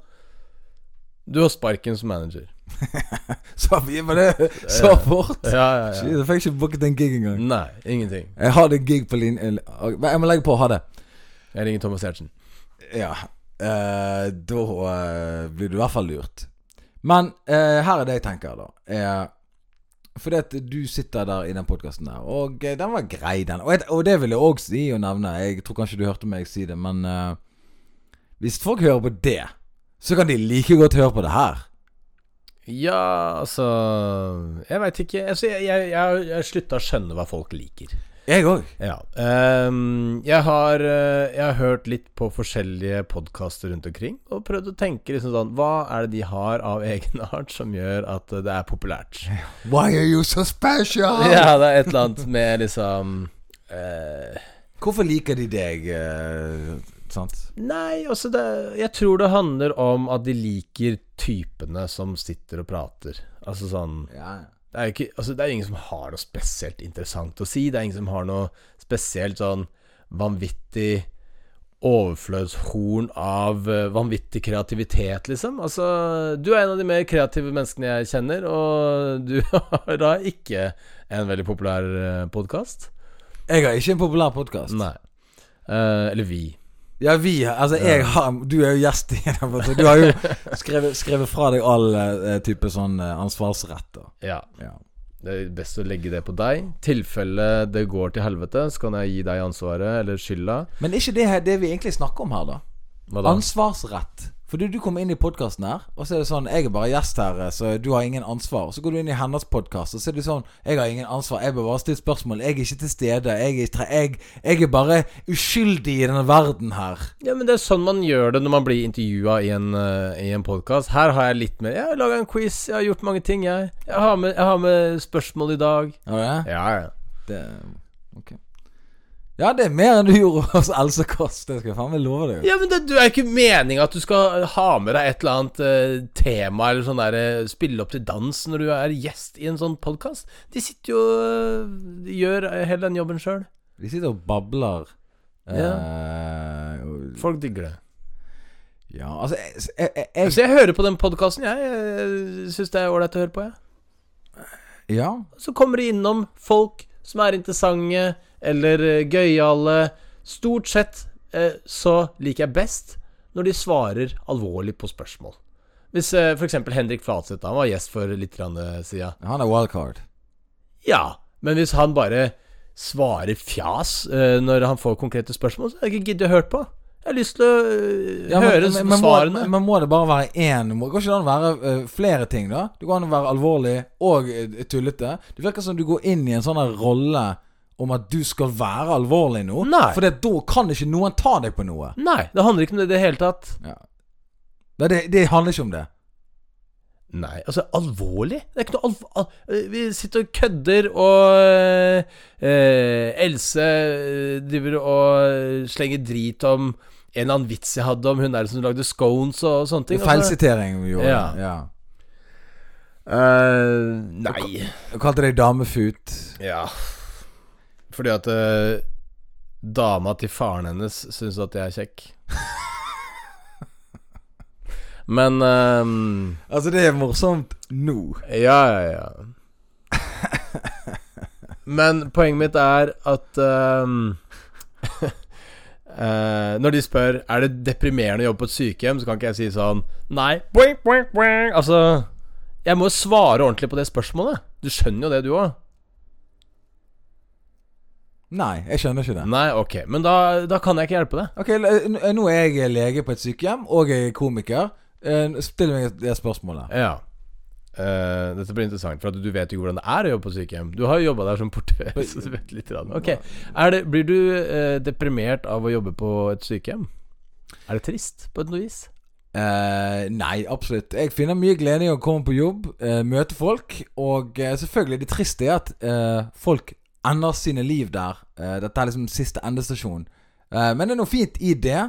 Du har sparken som manager.
Så vi var det så fort.
Ja, Mm. ja,
Shit, Jeg fikk ikke booket en gig engang.
Nei, ingenting.
Jeg har det gig på eh, linje ah, Jeg må legge på. Ha det.
Jeg ringer Thomas Giertsen.
Ja. eh, da eh, blir du i hvert fall lurt. Men eh, her er det jeg tenker, da. Eh, fordi at du sitter der i den podkasten der, og eh, den var grei, den. Og, jeg, og det vil jeg òg si og nevne. Jeg tror kanskje du hørte meg si det, men eh, hvis folk hører på det, så kan de like godt høre på det her.
Ja, altså Jeg veit ikke. Altså, jeg, jeg, jeg, jeg slutta å skjønne hva folk liker.
Jeg òg.
Ja. ehm, jeg, har, eh, jeg har hørt litt på forskjellige podkaster rundt omkring, og prøvd å tenke liksom sånn Hva er det de har av <laughs> egenart som gjør at det er populært?
Why are you so special?
<laughs> Ja, det er et eller annet med liksom eh,
Hvorfor liker de deg? eh, sant?
Nei, altså det, Jeg tror det handler om at de liker typene som sitter og prater. Altså sånn
Ja.
Det er jo ikke, altså det er ingen som har noe spesielt interessant å si. Det er ingen som har noe spesielt sånn vanvittig overflødshorn av eh, vanvittig kreativitet, liksom. Altså, du er en av de mer kreative menneskene jeg kjenner, og du <laughs> har da ikke en veldig populær eh, podkast.
Jeg har ikke en populær podkast.
Nei. Eh, eller vi.
Ja, vi har- Altså, jeg har Du er jo gjest i den podcasten. Du har jo skrevet, skrevet fra deg all eh, type sånn eh, ansvarsrett. Da.
Ja.
Ja.
Det er best å legge det på deg. tilfelle det går til helvete, så kan jeg gi deg ansvaret, eller skylda.
Men er ikke det her det vi egentlig snakker om her, da?
Hva
Ansvarsrett. For du, du kommer inn i podkasten her, og så er det sånn Jeg er bare gjest her, eh, så du har ingen ansvar. Så går du inn i hennes podkast, og så er det sånn Jeg har ingen ansvar, jeg bør bare stille spørsmål. Jeg er ikke til stede. Jeg er, tre- jeg, jeg er bare uskyldig i denne verden her.
Ja, men det er sånn man gjør det når man blir intervjua i en, eh, i en podkast. Her har jeg litt mer Jeg har laga en quiz, jeg har gjort mange ting, jeg. Jeg har med, jeg har med spørsmål i dag.
Har du det?
Ja, ja.
Det Ok. Ja, det er mer enn du gjorde hos Else Kåss. Det skal jeg faen meg love deg. altså.
Ja, men det, det er ikke meninga at du skal ha med deg et eller annet eh, tema eller sånn der eh, Spille opp til dans når du er gjest i en sånn podkast. De sitter jo eh, De gjør eh, hele den jobben sjøl.
De sitter og babler. Eh, og-
Folk digger det.
ja, altså jeg, jeg, jeg, jeg,
Så jeg hører på den podkasten, jeg. jeg Syns det er ålreit å høre på, jeg.
Ja.
så kommer de innom folk som er interessante eller eh, gøyale. Stort sett eh, så liker jeg best når de svarer alvorlig på spørsmål. Hvis eh, f.eks. Henrik Flatseth, han var gjest for litt grann, eh, siden.
Han er wildcard.
Ja, men hvis han bare svarer fjas eh, når han får konkrete spørsmål, så har jeg ikke giddet å høre på. Jeg har lyst til å eh,
Ja,
høre svarene.
Må, men må det bare være én? Må- Går ikke det an å være eh, flere ting, da? Det går an å være alvorlig og eh, tullete. Det virker som du går inn i en sånn her rolle om at du skal være alvorlig nå.
Nei.
For det- da kan ikke noen ta deg på noe.
Nei, det handler ikke om det i det hele tatt.
Ja. Nei, Det, det handler ikke om det.
Nei, altså alvorlig? Det er ikke noe alv... Al eh, vi sitter og kødder, og eh, Else eh, driver og slenger drit om en eller annen vits jeg hadde om hun der som lagde scones og, sånne ting.
Det
altså.
er Feilsitering vi gjorde.
Ja.
Ja.
Eh, nei.
Jeg kalte deg damefut.
Ja. Fordi at eh, dama til faren hennes syns at jeg er kjekk. Men eh,
Altså, det er morsomt nå.
Ja, ja, ja. Men poenget mitt er at ehm, <laughs> eh, Når de spør Er det deprimerende å jobbe på et sykehjem, så kan ikke jeg si sånn Nei. Boing, boing, boing. Altså Jeg må jo svare ordentlig på det spørsmålet. Du skjønner jo det, du òg.
Nei, jeg skjønner ikke det.
Nei, ok. Men da, da kan jeg ikke hjelpe deg.
Ok, l- n- Nå er jeg lege på et sykehjem, og jeg er komiker. Eh, Still meg det spørsmålet.
Ja. Eh, dette blir interessant, for at du vet jo ikke hvordan det er å jobbe på sykehjem. Du har jo jobba der som portør. <laughs> Så du vet litt grann. Ok, er det, Blir du eh, deprimert av å jobbe på et sykehjem? Er det trist, på et noe vis?
Eh, nei, absolutt. Jeg finner mye glede i å komme på jobb, eh, møte folk, og eh, selvfølgelig det triste er at eh, folk ender sine liv der. Eh, dette er liksom siste endestasjon. Eh, men det er noe fint i det.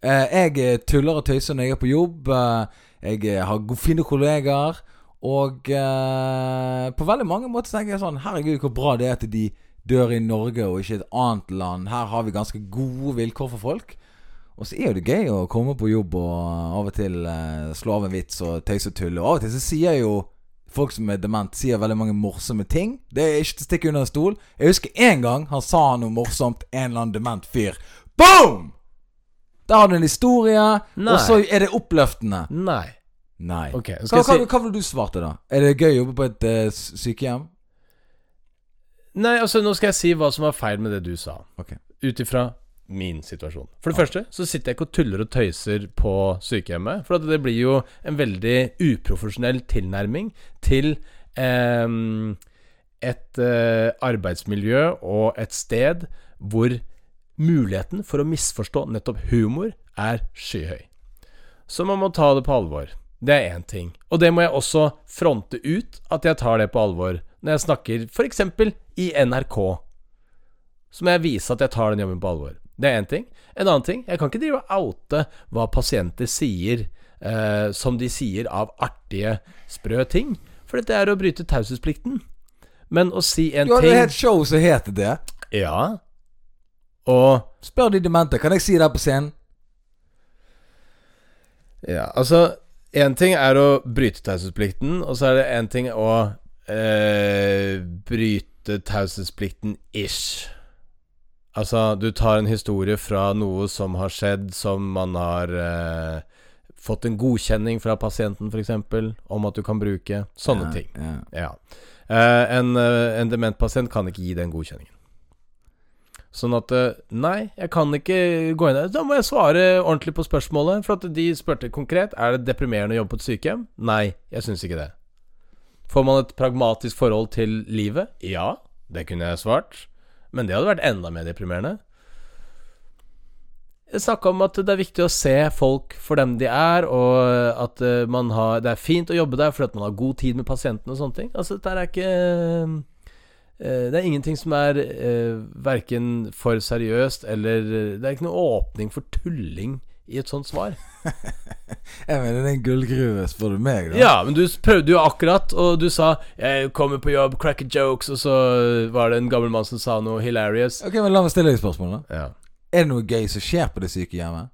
Eh, jeg eh, tuller og tøyser når jeg er på jobb. Eh, jeg eh, har go- fine kollegaer. Og eh, på veldig mange måter tenker jeg sånn Herregud, hvor bra det er at de dør i Norge og ikke i et annet land. Her har vi ganske gode vilkår for folk. Og så er det gøy å komme på jobb og av og til eh, slå av en vits og tøyse og tulle. Og av og til så sier jo folk som er dement, sier veldig mange morsomme ting. Det er ikke til å stikke under en stol. Jeg husker en gang han sa noe morsomt, en eller annen dement fyr. Boom! Der har du en historie,
Nei.
og så er det oppløftende.
Nei.
Nei.
Ok, nå
Hva,
skal
hva,
jeg si
hva ville du svarte, da? Er det gøy å jobbe på et eh, s- sykehjem?
Nei, altså, nå skal jeg si hva som var feil med det du sa.
Ok.
Ut ifra min situasjon. For det første så sitter jeg ikke og tuller og tøyser på sykehjemmet. For at det blir jo en veldig uprofesjonell tilnærming til eh, et eh, arbeidsmiljø og et sted hvor muligheten for å misforstå nettopp humor er skyhøy. Så man må ta det på alvor. Det er én ting. Og det må jeg også fronte ut at jeg tar det på alvor når jeg snakker f.eks. i NRK så må jeg vise at jeg tar den jobben på alvor. Det er én ting. En annen ting, jeg kan ikke drive og oute hva pasienter sier eh, som de sier av artige, sprø ting. For dette er å bryte taushetsplikten. Men å si en
Du hadde
ting
et helt show som het det.
Ja. Og
Spør de demente. Kan jeg si det her på scenen?
Ja, altså Én ting er å bryte taushetsplikten, og så er det én ting å eh, bryte taushetsplikten ish. Altså, du tar en historie fra noe som har skjedd, som man har eh, fått en godkjenning fra pasienten, f.eks., om at du kan bruke. Sånne ting.
Ja.
Ja. Eh, en, eh, en dement pasient kan ikke gi den godkjenningen. Sånn at eh, Nei, jeg kan ikke gå inn der. Da må jeg svare ordentlig på spørsmålet. For at de spurte konkret Er det deprimerende å jobbe på et sykehjem. Nei, jeg syns ikke det. Får man et pragmatisk forhold til livet? Ja, det kunne jeg svart. Men det hadde vært enda mer deprimerende. Jeg snakka om at det er viktig å se folk for dem de er, og at eh, man har, det er fint å jobbe der fordi at man har god tid med pasientene og sånne ting. Altså, dette her er ikke eh, Det er ingenting som er uh, verken for seriøst eller Det er ikke noe åpning for tulling i et sånt svar.
Jeg mener, det er en gullgruve, spør du meg. da
Ja, men du prøvde jo akkurat, og du sa 'Jeg kommer på jobb, cracker jokes', og så var det en gammel mann som sa noe hilarious.
Ok, men La meg stille deg spørsmålet.
Ja,
Er det noe gøy som skjer på det sykehjemmet?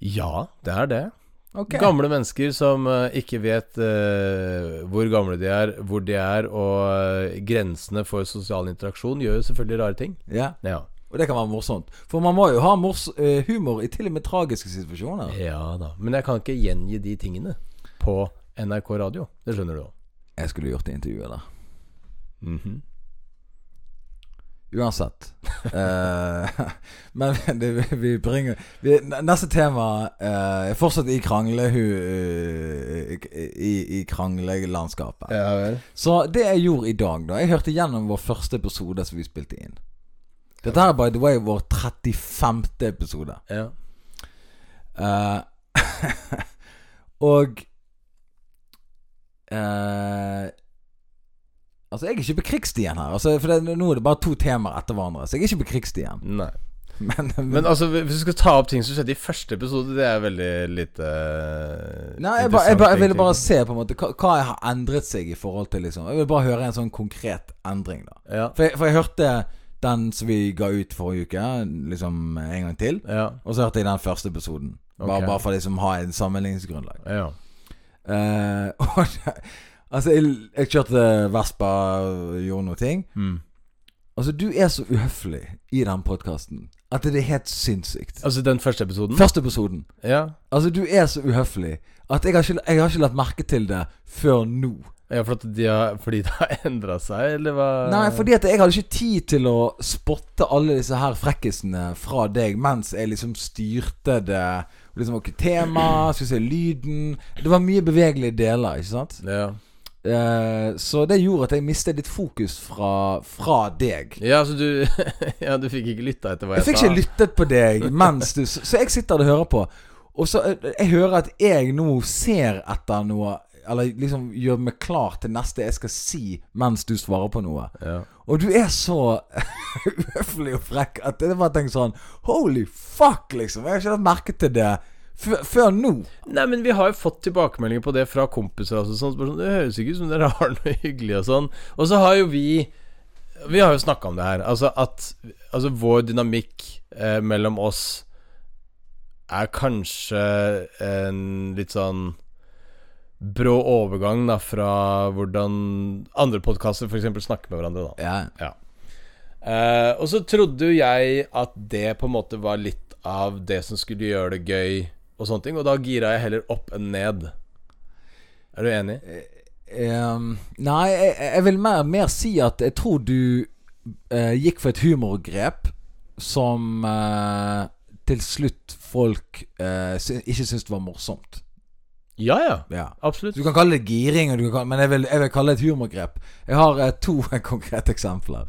ja det er det.
Ok
Gamle mennesker som eh, ikke vet eh, hvor gamle de er, hvor de er, og eh, grensene for sosial interaksjon, gjør jo selvfølgelig rare ting.
Ja,
Ja,
Og det kan være morsomt. For man må jo ha mors eh, humor i til og med tragiske situasjoner.
ja da. Men jeg kan ikke gjengi de tingene på NRK radio. Det skjønner du jo.
Jeg skulle gjort det intervjuet der. Mhm. Uansett. Eh, <laughs> men det, vi- vi bringer vi, Neste tema eh, er fortsatt i krangle... hu- i, i kranglelandskapet.
Ja vel.
Så det jeg gjorde i dag, da Jeg hørte gjennom vår første episode som vi spilte inn. Dette her er by the way vår 35. episode.
Ja.
Eh, <laughs> og eh, Altså, jeg er ikke på krigsstien her. Altså, for det, nå er det bare to temaer etter hverandre. Så jeg er ikke på krigsstien. <laughs>
Nei.
Men,
Men altså, hvis du skal ta opp ting som skjedde i første episode, det er veldig eh, lite
Nei, jeg, bare, jeg, bare, jeg ville bare se på en måte hva, hva har endret seg i forhold til liksom Jeg vil bare høre en sånn konkret endring, da.
Ja.
For jeg, for jeg hørte den som vi ga ut forrige uke, liksom en gang til.
Ja.
Og så hørte jeg den første episoden. Bare,
Ok.
bare for å liksom ha en sammenligningsgrunnlag.
ja.
Eh, <laughs> og det- altså, jeg, jeg kjørte Vespa, gjorde noe ting.
Mm.
Altså, du er så uhøflig i den podkasten at det er helt sinnssykt.
Altså den første episoden?
Første episoden.
Ja.
Altså, du er så uhøflig At jeg har, ikke, jeg har ikke lagt merke til det før nå.
Ja, for at de har, fordi det har <laughs> endra seg, eller hva?
Nei, fordi at jeg hadde ikke tid til å spotte alle disse her frekkisene fra deg mens jeg liksom styrte det. Og Liksom, ok, tema, skal vi se lyden Det var mye bevegelige deler, ikke sant?
ja.
Eh, så det gjorde at jeg mistet litt fokus fra, fra deg.
ja, så du <laughs> Ja, du fikk ikke lytta etter hva
Jeg
jeg,
fikk
sa?
ikke lyttet på deg mens du Så så jeg sitter og hører på, og så eh, Jeg hører at jeg nå ser etter noe, eller liksom gjør meg klar til neste jeg skal si mens du svarer på noe.
Ja.
Og du er så <laughs> uhøflig og frekk at jeg bare tenker sånn Holy fuck, liksom. Jeg har ikke lagt merke til det før, før nå.
Nei, men vi har jo fått tilbakemeldinger på det fra kompiser og sånn. Spørsmål, det høres ikke ut som dere har <laughs> noe hyggelig og sånn. Og så har jo vi Vi har jo snakka om det her. Altså at altså vår dynamikk eh, mellom oss er kanskje en litt sånn brå overgang da fra hvordan andre podkaster f.eks. snakker med hverandre. da
Ja.
Eh, og så trodde jo jeg at det på en måte var litt av det som skulle gjøre det gøy, og sånne ting. Og da gira jeg heller opp enn ned. Er du enig?
Ehm, nei, jeg, jeg vil mer, mer si at jeg tror du eh, gikk for et humorgrep som eh, til slutt folk eh, sy ikke syntes var morsomt.
Ja, ja.
Ja.
Absolutt.
Du kan kalle det giring, og du kan kalle, men jeg vil, jeg vil kalle det et humorgrep. Jeg har eh, to <laughs> konkrete eksempler.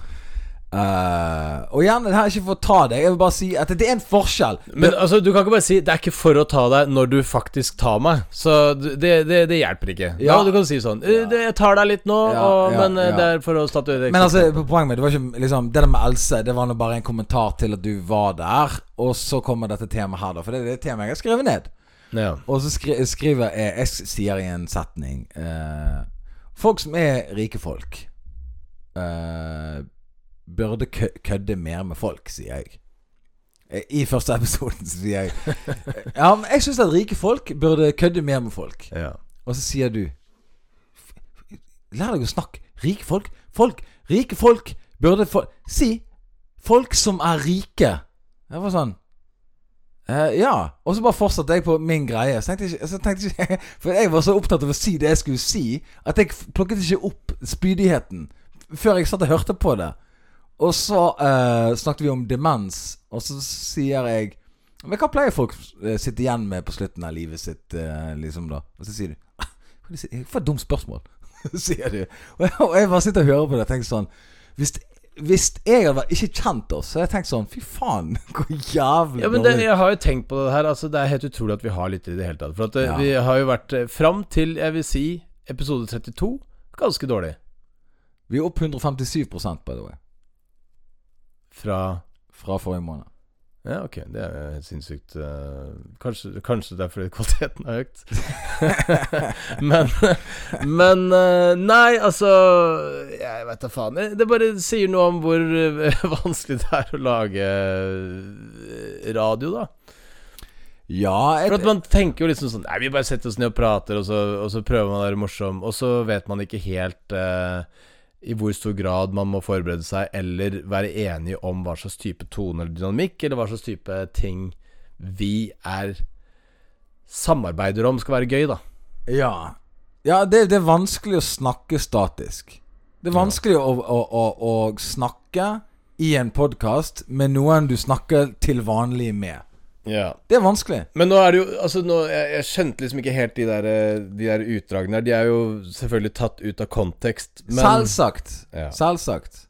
Eh, og igjen, det her er ikke for å ta deg. Jeg vil bare si at det er en forskjell.
Men altså, du kan ikke bare si 'det er ikke for å ta deg når du faktisk tar meg'. Så du- det, det, det hjelper ikke.
Ja.
Ja. Du kan si sånn «Eh, det, 'Jeg tar deg litt nå,
Ja,
og,
ja,
men eh,
ja.
det er for å statuere
Men altså, på poenget mitt, det var ikke liksom Det der med Else, det var nå bare en kommentar til at du var der. Og så kommer dette temaet her, da. For det er det temaet jeg har skrevet ned.
ja.
Og så skri skriver jeg Jeg s- sier i en setning eh, Folk som er rike folk, eh, burde kø kødde mer med folk, sier jeg. Eh, I første episoden så sier jeg Ja, men jeg syns at rike folk burde kødde mer med folk.
ja.
Og så sier du "F- f- Lær deg å snakke. Rike folk. Folk. Rike folk burde få Si folk som er rike. Jeg var sånn eh, Ja. Og så bare fortsatte jeg på min greie. Så tenkte jeg ikke, så tenkte jeg ikke <laughs> For jeg var så opptatt av å si det jeg skulle si, at jeg f- plukket ikke opp spydigheten før jeg satt og hørte på det. Og så eh, snakket vi om demens, og så sier jeg Men hva pleier folk eh, sitte igjen med på slutten av livet sitt, eh, liksom, da? Og så sier du «Ah, hva er det du sier? For et dumt spørsmål, <laughs> sier du. Og jeg, og jeg bare sitter og hører på det og tenker sånn Hvis, hvis jeg hadde vært- ikke kjent oss, så hadde jeg tenkt sånn Fy faen, <laughs> hvor jævlig
Ja, men det,
dårlig
jeg har jo tenkt på det her. Altså, det er helt utrolig at vi har lyttere i det hele tatt. For at eh,
Ja.
vi har jo vært eh, fram til, jeg vil si, episode 32 ganske dårlig.
Vi er opp 157 by the way,
Fra
fra forrige
<laughs>
måned.
Ja, ok, det er jo helt sinnssykt. eh, Kanskje, kanskje det er fordi kvaliteten har økt. men Men eh, Nei, altså Jeg veit da faen. Eh, Det bare sier noe om hvor eh, <laughs> vanskelig det er å lage eh, radio, da.
Ja,
For
jeg,
at man tenker jo liksom sånn Nei, vi bare setter oss ned og prater, og så, og så prøver man å være morsom, og så vet man ikke helt eh, i hvor stor grad man må forberede seg, eller være enig om hva slags type tone eller dynamikk, eller hva slags type ting vi er samarbeider om skal være gøy, da.
Ja, ja det, det er vanskelig å snakke statisk. Det er vanskelig å, å, å, å snakke i en podkast med noen du snakker til vanlig med.
Ja.
Det er vanskelig.
Men nå er det jo Altså, nå, jeg, jeg skjønte liksom ikke helt de der, eh, de der utdragene der. De er jo selvfølgelig tatt ut av kontekst, men
Selvsagt.
Ja.
Selvsagt.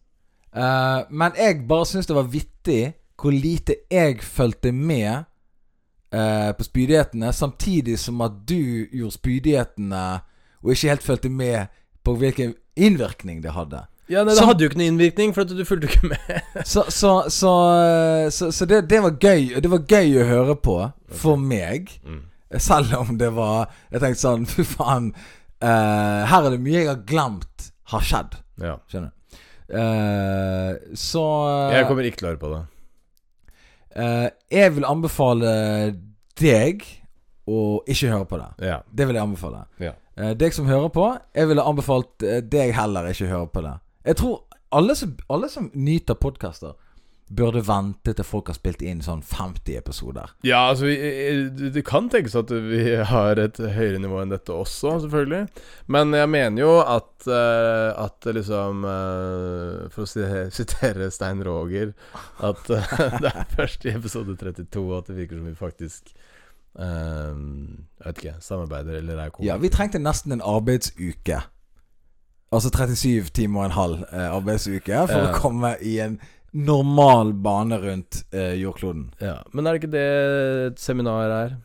Eh, men jeg bare syns det var vittig hvor lite jeg fulgte med eh, på spydighetene, samtidig som at du gjorde spydighetene og ikke helt fulgte med på hvilken innvirkning det
<laughs>
hadde.
Ja, nei, det
Som-
hadde jo ikke noen innvirkning, for at du fulgte ikke med.
Så, så, så, så, så det, det var gøy Det var gøy å høre på for meg.
Mm.
Selv om det var Jeg tenkte sånn <laughs> Fy faen. eh, her er det mye jeg har glemt har skjedd.
Ja.
Skjønner du? Eh, så
Jeg kommer ikke til å høre på det.
eh, jeg vil anbefale deg å ikke høre på det.
Ja.
Det vil jeg anbefale.
Ja.
Eh, deg som hører på, jeg ville anbefalt eh, deg heller ikke høre på det. Jeg tror alle som, alle som nyter podkaster, burde vente til folk har spilt inn sånn 50 episoder.
Ja, altså vi, eh, Det kan tenkes at vi har et høyere nivå enn dette også, selvfølgelig. Men jeg mener jo at, eh, at liksom eh, For å si- <laughs> sitere Stein Roger At eh, <laughs> det er først i episode 32 at det virker som vi faktisk eh, Jeg vet ikke Samarbeider eller er kommet.
Ja, vi trengte nesten en arbeidsuke. Altså 37 timer og en halv eh, arbeidsuke for
Ja.
å komme i en normal bane rundt eh, jordkloden.
Ja, Men er det ikke det et seminar er?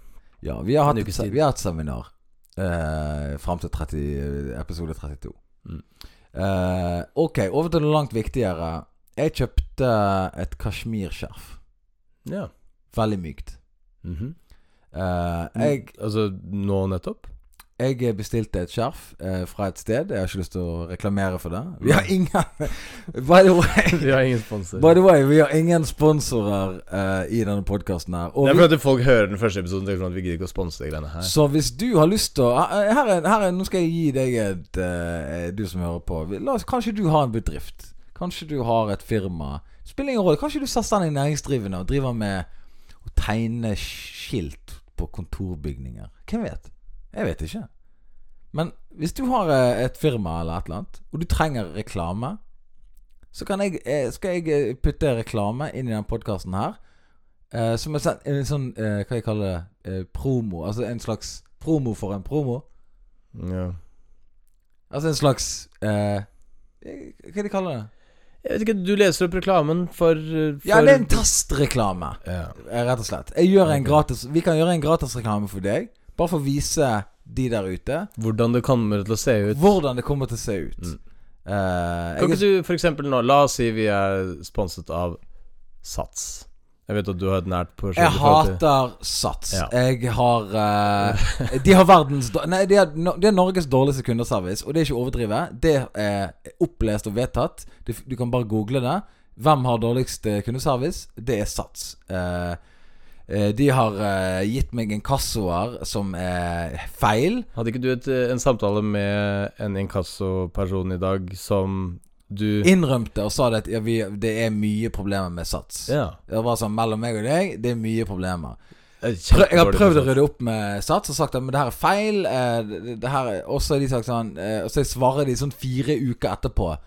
Ja, vi har hatt,
En ukes tid.
vi har hatt seminar eh, fram til 30, episode 32.
Mm.
Eh, ok, over til noe langt viktigere. Jeg kjøpte et kasjmirskjerf.
Ja.
Veldig mykt.
Mhm.
Eh, jeg,
Altså nå nettopp? <laughs>
jeg bestilte et skjerf eh, fra et sted. Jeg har ikke lyst til å reklamere for det. Vi har ingen <laughs> By the
<laughs>
way,
Vi har ingen sponsor.
by the way vi har ingen sponsorer eh, i denne podkasten her. Og
det er
vi,
fordi at folk hører den første episoden og tenker sånn at vi gidder ikke å sponse de greiene her.
så hvis du har lyst til å her er, her er, Nå skal jeg gi deg et eh, Du som hører på. La oss, kanskje du har en bedrift. Kanskje du har et firma. Spiller ingen rolle. Kanskje du selvstendig næringsdrivende og driver med å tegne skilt på kontorbygninger. Hvem vet? Jeg vet ikke. Men hvis du har eh, et firma eller et eller annet, og du trenger reklame, så kan jeg, eh, skal jeg eh, putte reklame inn i denne podkasten her. eh, Som en, sånn- en sånn eh, Hva jeg kaller det? eh, Promo. Altså en slags promo for en promo.
Ja.
Altså en slags eh, eh, Hva de kaller det?
Jeg vet ikke, du leser opp reklamen for, uh, for
Ja, det er en testreklame.
ja.
Eh, Rett og slett. Jeg gjør en
Ok.
gratis Vi kan gjøre en gratisreklame for deg. Bare for å vise de der ute
Hvordan det kommer til å se ut.
hvordan det kommer til å se ut.
Mm.
Eh,
Kan
jeg,
ikke du for eksempel nå La oss si vi er sponset av Sats. Jeg vet at du har et nært på
jeg hater Sats.
Ja.
Jeg har eh, De har verdens dår- Nei, de har, no- de har Norges dårligste kundeservice, og det er ikke å overdrive. Det er opplest og vedtatt. Du, f- du kan bare google det. Hvem har dårligst eh, kundeservice? Det er Sats. Eh, eh, de har eh, gitt meg inkassoer som er feil.
Hadde ikke du et, uh, en samtale med en inkassoperson i dag som du
Innrømte og sa det at ja, vi, det er mye problemer med Sats.
Ja.
Det var bare sånn mellom meg og deg, det er mye problemer.
Jeg,
Prøv, jeg har prøvd å rydde opp med Sats og sagt at men det her er feil. eh, det- Det her er også de sagt sånn eh, Og så svarer de sånn fire uker etterpå,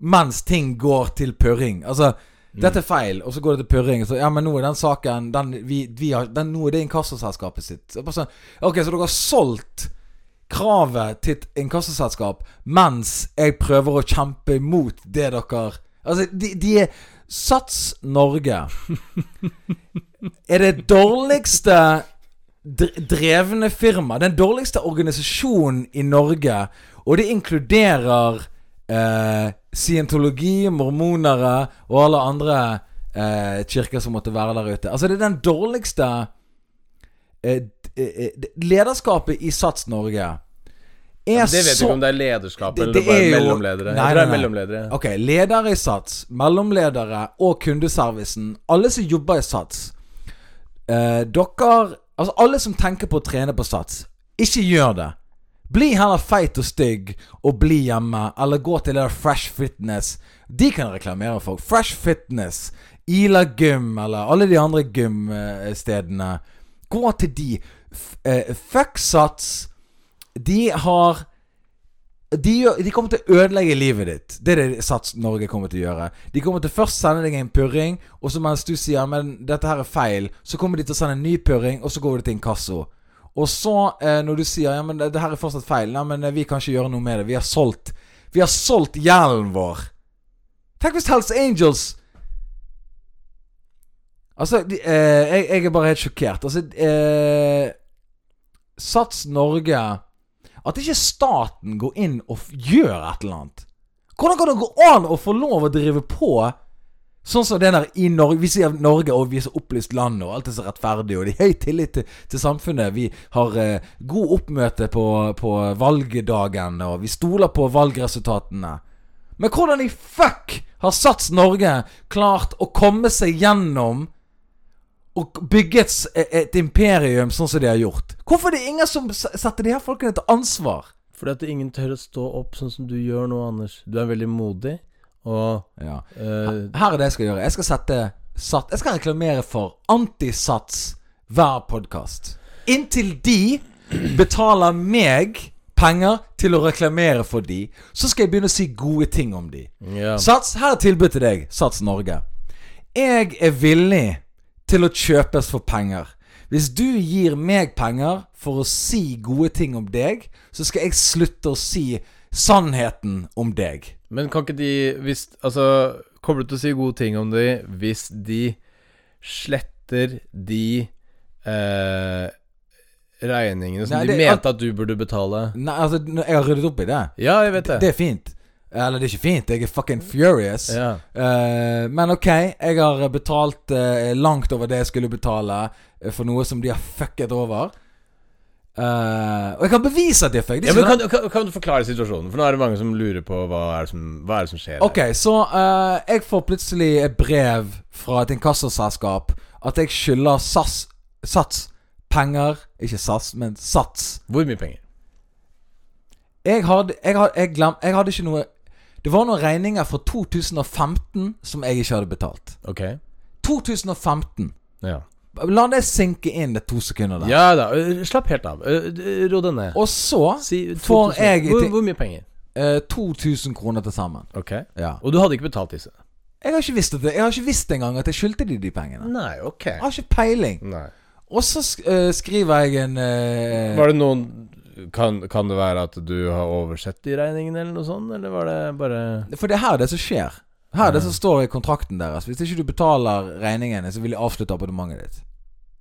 mens ting går til purring. Altså, dette er feil, og så går det til purring. Så, ja, men nå er den saken den, vi, vi har, den, Nå er det inkassoselskapet sitt. Så, bare sånn, ok, så dere har solgt kravet til et inkassoselskap mens jeg prøver å kjempe imot det dere Altså, de, de er Sats Norge er det dårligste dr- drevne firma, den dårligste organisasjonen i Norge, og det inkluderer eh, scientologi, mormonere og alle andre eh, kirker som måtte være der ute. Altså, det er den dårligste eh, d- eh, eh, Lederskapet i Sats Norge er
Det vet du
så
ikke om det er lederskap
Det-
eller
det
bare
er jo- Nei,
mellomledere. jeg tror det er
nei, nei.
mellomledere.
Ok, ledere i Sats, mellomledere og kundeservicen. Alle som jobber i Sats. Eh, dere Altså, alle som tenker på å trene på Sats, ikke gjør det. Bli heller feit og stygg og bli hjemme, eller gå til det der Fresh Fitness. De kan reklamere for. Fresh Fitness, Ila Gym, eller alle de andre gymstedene. Gå til de. F eh, fuck Sats. De har de, gjør- de kommer til å ødelegge livet ditt. Det er det Sats Norge kommer til å gjøre. De kommer til først sende deg en purring, og så mens du sier Men dette her er feil, så kommer de til å sende en ny purring, og så går det til inkasso. Og så, eh, når du sier Ja, men det, det her er fortsatt feil, nei, men eh, vi kan ikke gjøre noe med det. Vi har solgt Vi har solgt gjelden vår. Tenk hvis Hells Angels Altså, de, eh, jeg, jeg er bare helt sjokkert. Altså, eh, Sats Norge at ikke staten går inn og f- gjør et eller annet. Hvordan kan det gå an å få lov å drive på sånn som det der i Norge? Vi sier Norge, og vi er så opplyst land, og alt er så rettferdig, og det er høy tillit til, til samfunnet. Vi har eh, god oppmøte på, på valgdagen, og vi stoler på valgresultatene. Men hvordan i fuck har Sats Norge klart å komme seg gjennom og bygge et, s- e- et imperium sånn som de har gjort? Hvorfor er det ingen som s- setter de her folkene til ansvar?
Fordi at ingen tør å stå opp sånn som du gjør nå, Anders. Du er veldig modig, Og
Ja.
eh,
Her er det jeg skal gjøre. Jeg skal sette sat, Jeg skal reklamere for Antisats hver podkast. Inntil de betaler meg penger til å reklamere for de, så skal jeg begynne å si gode ting om de.
ja.
Sats, her er tilbud til deg, Sats Norge. Jeg er villig til å kjøpes for penger. Hvis du gir meg penger for å si gode ting om deg, så skal jeg slutte å si sannheten om deg.
Men kan ikke de hvis, Altså, kommer du til å si gode ting om de hvis de sletter de eh, regningene som
Nei,
de
det-
mente at du burde betale?
Nei, altså, nå- jeg har ryddet opp i det.
Ja, jeg vet det.
Det er fint. Eller, det er ikke fint. Jeg er fucking furious.
ja.
Eh, men ok, jeg har betalt eh, langt over det jeg skulle betale eh, for noe som de har fucket over. Eh, og jeg kan bevise at de har fucket. De
ja men
skal-
kan, kan, kan du forklare situasjonen? For nå er det mange som lurer på hva er det som, hva er det som skjer. her?
Ok, så eh, jeg får plutselig et brev fra et inkassoselskap at jeg skylder SAS Sats penger Ikke SAS, men Sats.
Hvor mye penger?
Jeg hadde, jeg, hadde, jeg, glem, jeg hadde ikke noe Det var noen regninger fra 2015 som jeg ikke hadde betalt.
Ok.
2015.
Ja.
La det sinke inn det to sekunder der.
ja da. øh, Slapp helt av. Øh, d- Ro deg ned.
Og så
Si
får
2000.
jeg
hvor,
til-
hvor mye penger?
eh, 2000 kroner til sammen.
Ok.
Ja.
Og du hadde ikke betalt disse?
Jeg har ikke visst at det Jeg har ikke visst engang at jeg skyldte de de pengene.
Nei, ok.
Jeg har ikke peiling.
Nei.
Og så sk eh, skriver jeg en eh,
Var det noen kan, kan det være at du har oversett de regningene, eller noe sånt? Eller var det Mm. bare
For det er her det som skjer. Her er det som står i kontrakten deres. Hvis ikke du betaler regningene, så vil jeg avslutte abonnementet ditt.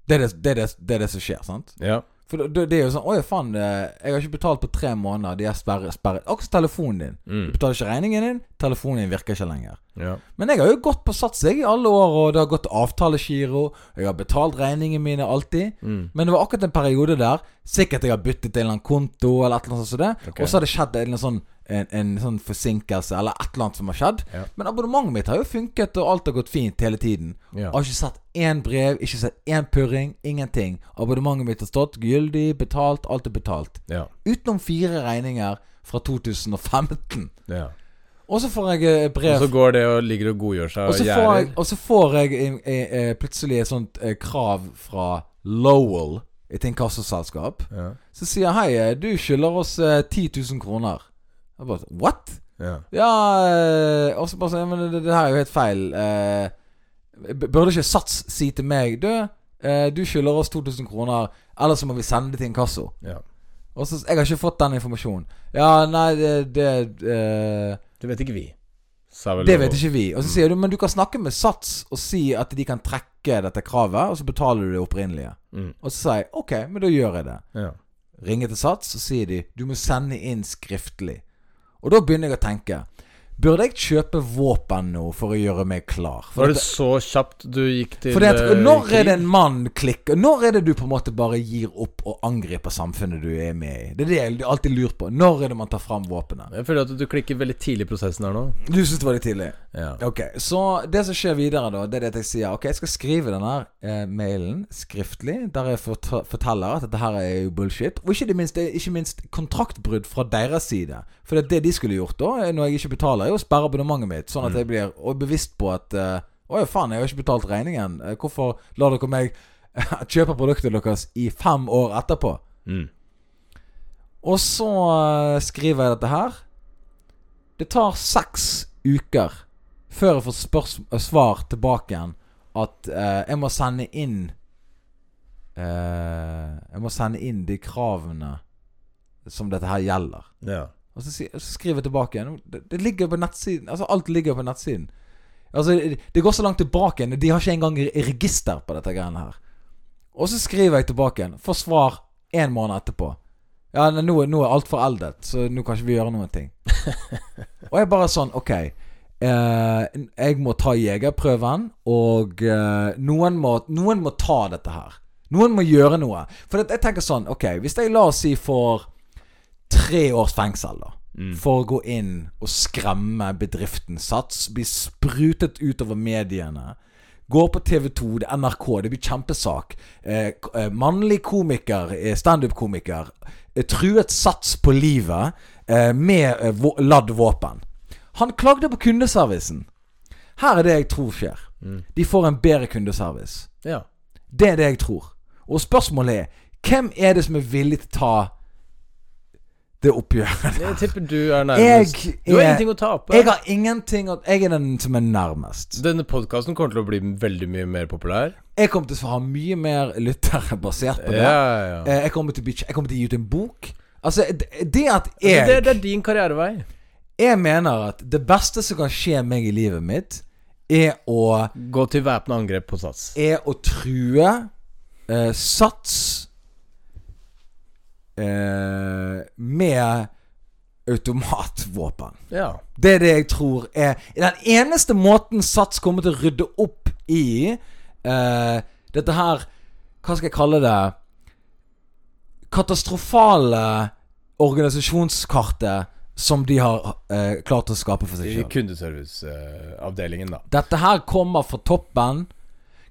Det er det, det, er det, det, er det som skjer, sant?
Ja.
For det, det er jo sånn Oi, faen, eh, jeg har ikke betalt på tre måneder. De er sperret. sperret. Akkurat telefonen din. Du
Mm.
betaler ikke regningen din, telefonen din virker ikke lenger.
ja.
Men jeg har jo gått på sats jeg i alle år, og det har gått avtalegiro. Jeg har betalt regningene mine alltid.
Mm.
Men det var akkurat en periode der Sikkert jeg har byttet til en eller annen konto, eller et eller annet sånt som det.
Ok.
Og så har det skjedd en, eller annen sånn, en, en sånn forsinkelse, eller et eller annet som har skjedd.
Ja.
Men abonnementet mitt har jo funket, og alt har gått fint hele tiden.
Ja.
Jeg har ikke sett én brev, ikke sett én purring, ingenting. Abonnementet mitt har stått gyldig, betalt, alt er betalt.
ja.
Utenom fire regninger fra 2015.
ja.
Og så får jeg eh, brev
Og så går det og ligger og godgjør seg
og
og
så får
gjerder.
jeg, og så får jeg eh, eh, eh, plutselig et sånt eh, krav fra Lowell, et inkassoselskap,
Ja.
som sier hei, eh, du skylder oss eh, 10 000 kroner. Jeg bare sånn, what?
Ja.
Ja, eh, og så bare sånn, «Ja, men det, det her er jo helt feil. Eh, b- burde ikke Sats si til meg, du, eh, du skylder oss 2000 kroner, ellers så må vi sende det til inkasso.
ja.
Og så, jeg har ikke fått den informasjonen. Ja, nei, det, det eh,
Det vet ikke vi. Sa vel
det
Lovo.
vet ikke vi.
Mm.
Og så sier du men du kan snakke med Sats og si at de kan trekke dette kravet, og så betaler du det opprinnelige.
Mm.
Og så sier jeg OK, men da gjør jeg det.
Ja.
Ringer til Sats, og sier de du må sende inn skriftlig. Og da begynner jeg å tenke. Burde jeg kjøpe våpen nå for å gjøre meg klar?
Var
For,
det
at,
så kjapt du gikk til
for det
eh,
at, når
krig?
er det en mann klikker? Når er det du på en måte bare gir opp og angriper samfunnet du er med i? Det er det jeg alltid lurer på. Når er det man tar fram våpenet?
Jeg føler at du klikker veldig tidlig i prosessen her nå.
Du syns det var litt tidlig?
Ja.
Ok, så det som skjer videre da Det er det at jeg sier Ok, jeg skal skrive denne eh, mailen skriftlig Der jeg fort forteller at dette her er jo bullshit Og ikke det minst, det er ikke minst kontraktbrudd fra deres side For det, er det de skulle gjort da eh, Når jeg ikke betaler er jo å sperre abonnementet mitt Sånn at jeg blir og bevisst på at eh, Åja faen, jeg har ikke betalt regningen Eh, Hvorfor lar dere meg eh, kjøpe produktet deres i fem år etterpå
Mm.
og så eh, skriver jeg dette her. Det tar seks uker før jeg får spørs- eh, svar tilbake igjen at eh, jeg må sende inn eh, Jeg må sende inn de kravene som dette her gjelder.
Ja.
Og så, si- så skriver jeg tilbake igjen. Det, det ligger på nettsiden. Altså, alt ligger på nettsiden. Altså, det- det går så langt tilbake igjen. De har ikke engang re- register på dette greiene her. Og så skriver jeg tilbake igjen. Får svar én måned etterpå. Ja, nei, nå, er- nå er alt foreldet, så nå kan ikke vi gjøre noen ting. og jeg bare sånn, ok. Eh, jeg må ta jegerprøven, og eh, noen, må, noen må ta dette her. Noen må gjøre noe. For det, jeg tenker sånn, ok, hvis jeg la oss si for tre års fengsel da for å gå inn og skremme bedriften Sats. Bli sprutet utover mediene. Går på TV 2, det er NRK, det blir kjempesak. Eh, k- eh, mannlig komiker, eh, standup-komiker, eh, truet Sats på livet eh, med eh, vå- ladd våpen. Han klagde på kundeservicen. Her er det jeg tror skjer.
Mm.
De får en bedre kundeservice.
Ja.
Det er det jeg tror. Og spørsmålet er hvem er det som er villig til å ta det oppgjøret?
Jeg tipper du er nærmest.
<laughs> Jeg,
du har
er,
ingenting å tape.
jeg har ingenting å Jeg er den som er nærmest.
Denne podkasten kommer til å bli veldig mye mer populær.
Jeg kommer til å ha mye mer lyttere basert på
Ja,
det.
ja, ja.
Eh, Jeg kommer til å bli- jeg kommer til å gi ut en bok. Altså, det- det at
Altså, det,
jeg
det er din karrierevei.
Jeg mener at det beste som kan skje meg i livet mitt, er å
Gå til væpna angrep på Sats.
er å true eh, Sats eh, med automatvåpen.
Ja.
Det er det jeg tror er Den eneste måten Sats kommer til å rydde opp i eh, dette her Hva skal jeg kalle det? Katastrofale organisasjonskartet som de har eh, klart å skape for seg
I
sjøl.
kundeserviceavdelingen, da.
Dette her kommer fra toppen.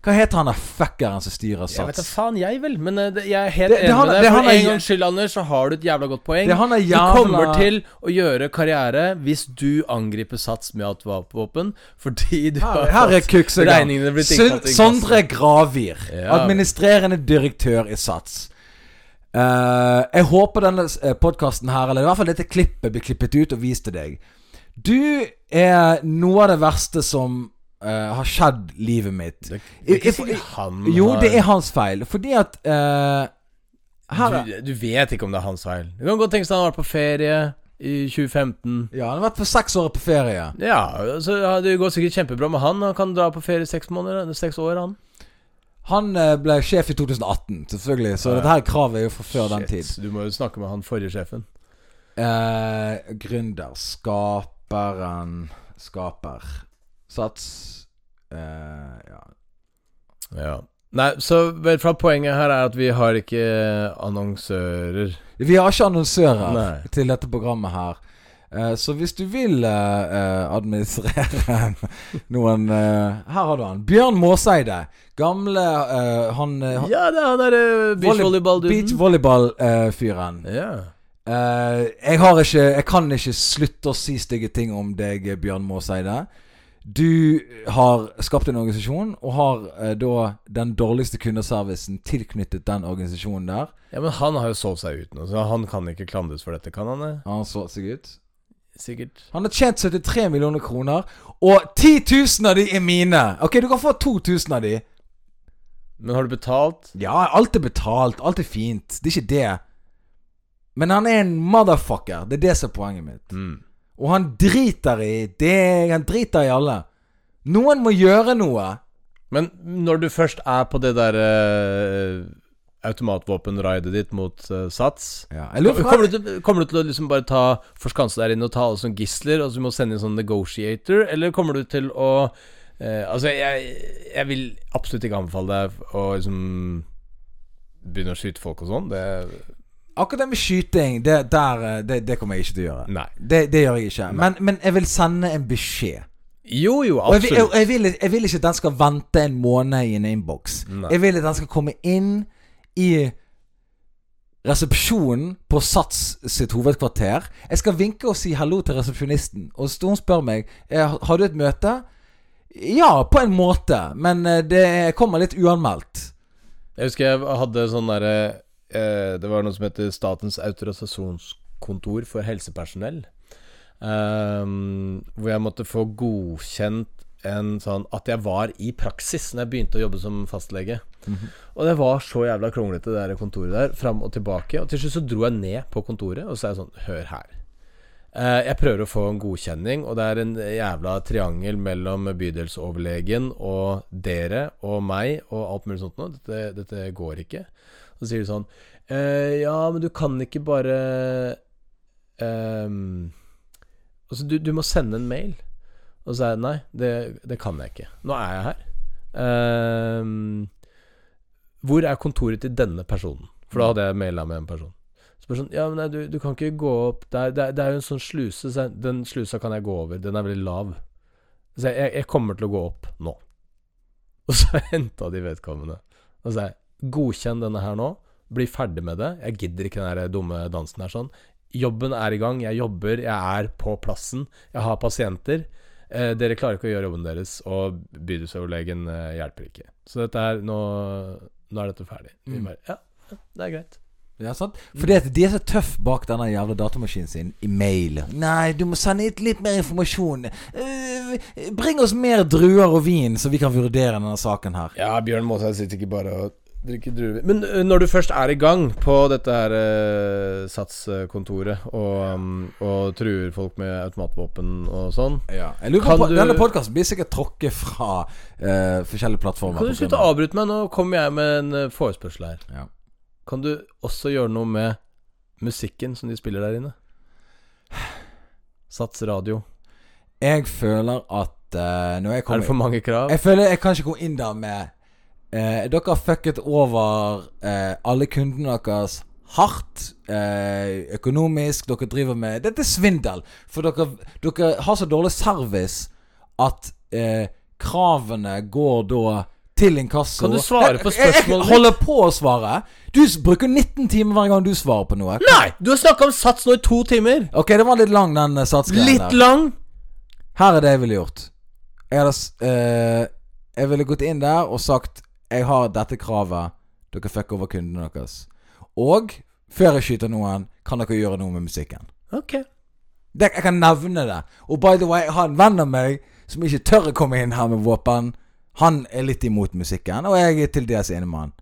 Hva heter han der fuckeren som styrer
Jeg vet da
Sats?
faen, jeg vel. Men eh, det, jeg er helt
Det- det
enig
han-
med
det
deg.
han
For
er-
en gangs skyld, Anders, så har du et jævla godt poeng.
Det han er
Du
jævla-
kommer til å gjøre karriere hvis du angriper Sats med automatvåpen fordi du har
Her er
fått
kukseggan.
regningene blitt
Sund-
inntatt i inkasso.
Sondre Gravir,
Ja.
administrerende direktør i Sats. Eh, jeg håper denne podkasten her, eller i hvert fall dette klippet, blir klippet ut og vist til deg. Du er noe av det verste som eh, har skjedd livet mitt.
Det, det er ikke
I- i-
sikkert han
jo,
har-
det er hans feil, fordi at eh, her,
du, du vet ikke om det er hans feil. Det kan godt tenkes at han har vært på ferie i 2015.
Ja, han har vært for seks år på ferie.
Ja, så ja, det går sikkert kjempebra med han. Han kan dra på ferie i seks måneder Seks år, han.
Han eh, ble sjef i 2018, selvfølgelig, så dette her kravet er jo fra før den
Shit,
tid.
Du må jo snakke med han forrige sjefen.
Eh, gründer. Skaperen Skaper. Sats eh, ja.
Ja. Nei, så vel fra poenget her er at vi har ikke eh, annonsører.
Vi har ikke annonsører
Nei.
til dette programmet her. Eh, så hvis du vil eh, eh, administrere <laughs> noen eh, Her har du han. Bjørn Måseide. Gamle eh, Han eh, han-
Ja, det er han derre
Beach
beachvolleyball-duden.
volleyball-fyren.
Ja.
Eh, jeg har ikke Jeg kan ikke slutte å si stygge ting om deg, Bjørn Maaseide. Du har skapt en organisasjon, og har eh, da den dårligste kundeservicen tilknyttet den organisasjonen der.
ja, men han har jo solgt seg ut nå, så han kan ikke klandres for dette, kan han det?
Han så seg ut.
Sikkert.
Han har tjent 73 millioner kroner, og 10 000 av de er mine! Ok, du kan få 2000 av de.
Men har du betalt?
Ja, alt er betalt, alt er fint. Det er ikke det. Men han er en motherfucker. Det er det som er poenget mitt.
Mm.
Og han driter i det Han driter i alle. Noen må gjøre noe.
Men når du først er på det derre uh, automatvåpenraidet ditt mot eh, Sats
Jeg lurer på hva-
Kommer du, til, kommer du til å liksom bare ta forskanse der inne og ta alle som gisler, og så må du sende inn sånn negotiator, eller kommer du til å eh, Altså, jeg, jeg vil absolutt ikke anbefale deg å liksom begynne å skyte folk og sånn. Det
Akkurat det med skyting, det, der, eh, det, det kommer jeg ikke til å gjøre.
Nei.
Det, det gjør jeg ikke. Men, men jeg vil sende en beskjed.
Jo, jo,
Og jeg, vil- jeg,
absolutt.
jeg, vil, jeg vil ikke at den skal vente en måned i en innboks.
Nei.
Jeg vil at den skal komme inn i resepsjonen på Sats sitt hovedkvarter. Jeg skal vinke og si hallo til resepsjonisten, og så hun spør meg eh, Har du et møte. Ja, på en måte, men eh, det kommer litt uanmeldt.
Jeg husker jeg hadde sånn derre eh, Det var noe som heter Statens autorisasjonskontor for helsepersonell. Ehm, hvor jeg måtte få godkjent en sånn At jeg var i praksis når jeg begynte å jobbe som fastlege. Og det var så jævla kronglete, det der kontoret der. Fram og tilbake. Og til slutt så dro jeg ned på kontoret, og så er jeg sånn Hør her. Eh, Jeg prøver å få en godkjenning, og det er en jævla triangel mellom bydelsoverlegen og dere og meg og alt mulig sånt noe. Dette, dette går ikke. Så sier de sånn eh, Ja, men du kan ikke bare ehm, Altså, du, du må sende en mail. Og så er jeg Nei, det, det kan jeg ikke. Nå er jeg her. Ehm, hvor er kontoret til denne personen? For da hadde jeg maila med en person. Så bare sånn, ja, men nei, du, du kan ikke gå opp der. Det, er- det er jo en sånn sluse. Så jeg- den slusa kan jeg gå over. Den er veldig lav. Så jeg, jeg, jeg kommer til å gå opp nå. Og så <laughs> henta de vedkommende. Og så sa jeg, godkjenn denne her nå. Bli ferdig med det. Jeg gidder ikke den her dumme dansen her sånn. Jobben er i gang. Jeg jobber, jeg er på plassen. Jeg har pasienter. Eh, dere klarer ikke å gjøre jobben deres, og bydelsoverlegen eh, hjelper ikke. Så dette her, nå, nå er dette ferdig. Vi
Mm.
bare, ja, ja, det er greit.
Ja, sant?
Mm.
Fordi at de er så tøff bak denne jævla datamaskinen sin i mail. Nei, du må sende ut litt mer informasjon. Eh, bring oss mer druer og vin, så vi kan vurdere denne saken her.
Ja, Bjørn Måsheim sitter ikke bare og drikker druer. Men ø, når du først er i gang på dette her ø, satskontoret og, um, og truer folk med automatvåpen og sånn
Jeg lurer
Kan
på,
du-
Denne podkasten blir sikkert tråkket fra eh, forskjellige plattformer. på
Kan du
grunn
slutte å
av-
avbryte meg? Nå kommer jeg med en ø, forespørsel her.
Ja.
Kan du også gjøre noe med musikken som de spiller der inne? <sighs> Sats radio.
Jeg føler at eh, når jeg
Er det
kommer
for mange krav?
Jeg føler jeg kan ikke gå inn der med eh, Dere har fucket over eh, alle kundene deres hardt. Eh, økonomisk. Dere driver med Dette er svindel. For dere, dere har så dårlig service at eh, kravene går da til inkasso.
Kan du svare på
Jeg- Jeg,
spørsmålet
jeg holder på å svare. Du s- bruker 19 timer hver gang du svarer på noe.
Nei! Du har snakka om Sats nå i to timer!
Ok, det var litt lang, den eh, satsgreien
Litt
der.
lang!
Her er det jeg ville gjort. Jeg, hadde, s- eh, jeg ville gått inn der og sagt Jeg har dette kravet. Dere fucker over kundene deres. Og før jeg skyter noen, kan dere gjøre noe med musikken.
Ok.
Det, jeg kan nevne det. Og by the way, jeg har en venn av meg som ikke tør å komme inn her med våpen. Han er litt imot musikken, og jeg er til dels enig med han.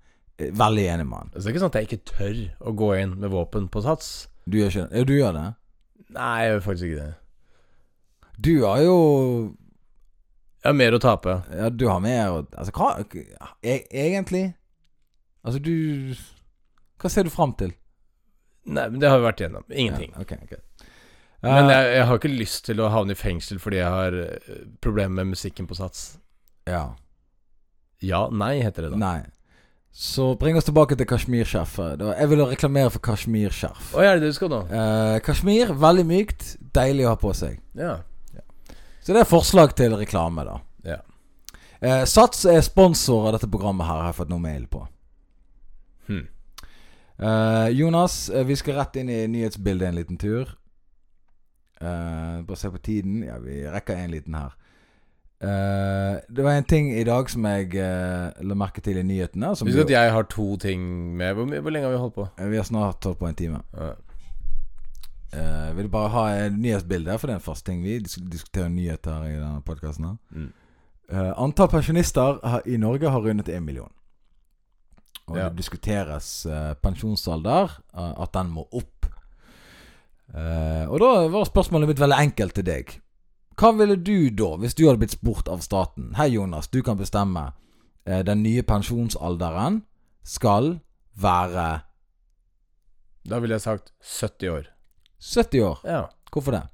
Eh, Veldig enig med han.
Altså, Det er ikke sånn at jeg ikke tør å gå inn med våpen på Sats.
Du gjør ikke det? Ja, du gjør det?
Nei, jeg gjør faktisk ikke det.
Du har jo
Jeg har mer å tape.
Ja, du har mer å- Altså, hva e Egentlig? Altså, du Hva ser du fram til?
Nei, men Det har vi vært igjennom. Ingenting.
Ja, ok, ok.
Men
Eh,
jeg, jeg har ikke lyst til å havne i fengsel fordi jeg har eh, problemer med musikken på Sats.
Eh, Ja.
Ja, nei, heter det da.
Nei. Så bring oss tilbake til kasjmirskjerfet. Det var- Jeg ville reklamere for kasjmirskjerf.
Å, er det det du skal nå?
Eh, kasjmir, veldig mykt, deilig å ha på seg.
Ja.
Så det er forslag til reklame, da.
Ja.
Eh, Sats er sponsor av dette programmet her, har jeg fått noe mail på.
Hmm.
Eh, Jonas, eh, vi skal rett inn i nyhetsbildet en liten tur. Eh, bare se på tiden. Ja, vi rekker en liten her. Eh, det var en ting i dag som jeg eh, la merke til i nyhetene. Som
Husk
vi,
at jeg har to ting med. Hvor, mye- hvor lenge har vi holdt på?
Eh, vi har snart holdt på en time.
Ja.
Eh, vil bare ha et nyhetsbilde, for det er en fast ting vi dis diskuterer nyheter i denne podkasten.
Mm.
antall pensjonister her i Norge har rundet én million. Og
Ja.
det diskuteres eh, pensjonsalder, eh, at den må opp. Eh, og da var spørsmålet mitt veldig enkelt til deg. Hva ville du da, hvis du hadde blitt spurt av staten? Hei, Jonas, du kan bestemme. Eh, den nye pensjonsalderen skal være
Da ville jeg sagt 70 år.
70 år.
Ja.
Hvorfor det?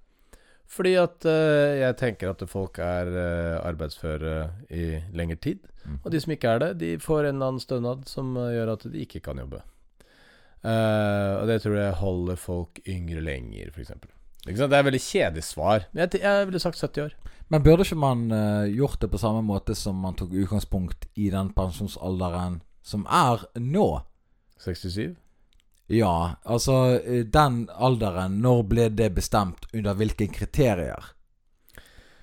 Fordi at eh, jeg tenker at folk er eh, arbeidsføre i lengre tid.
Mhm.
Og de som ikke er det, de får en eller annen stønad som eh, gjør at de ikke kan jobbe. Eh, og det tror jeg holder folk yngre lenger, f.eks. Det er et veldig kjedelig svar. Men jeg, t- jeg ville sagt 70 år.
Men burde ikke man eh, gjort det på samme måte som man tok utgangspunkt i den pensjonsalderen som er nå?
67?
Ja, altså eh, den alderen, når ble det bestemt under hvilke kriterier?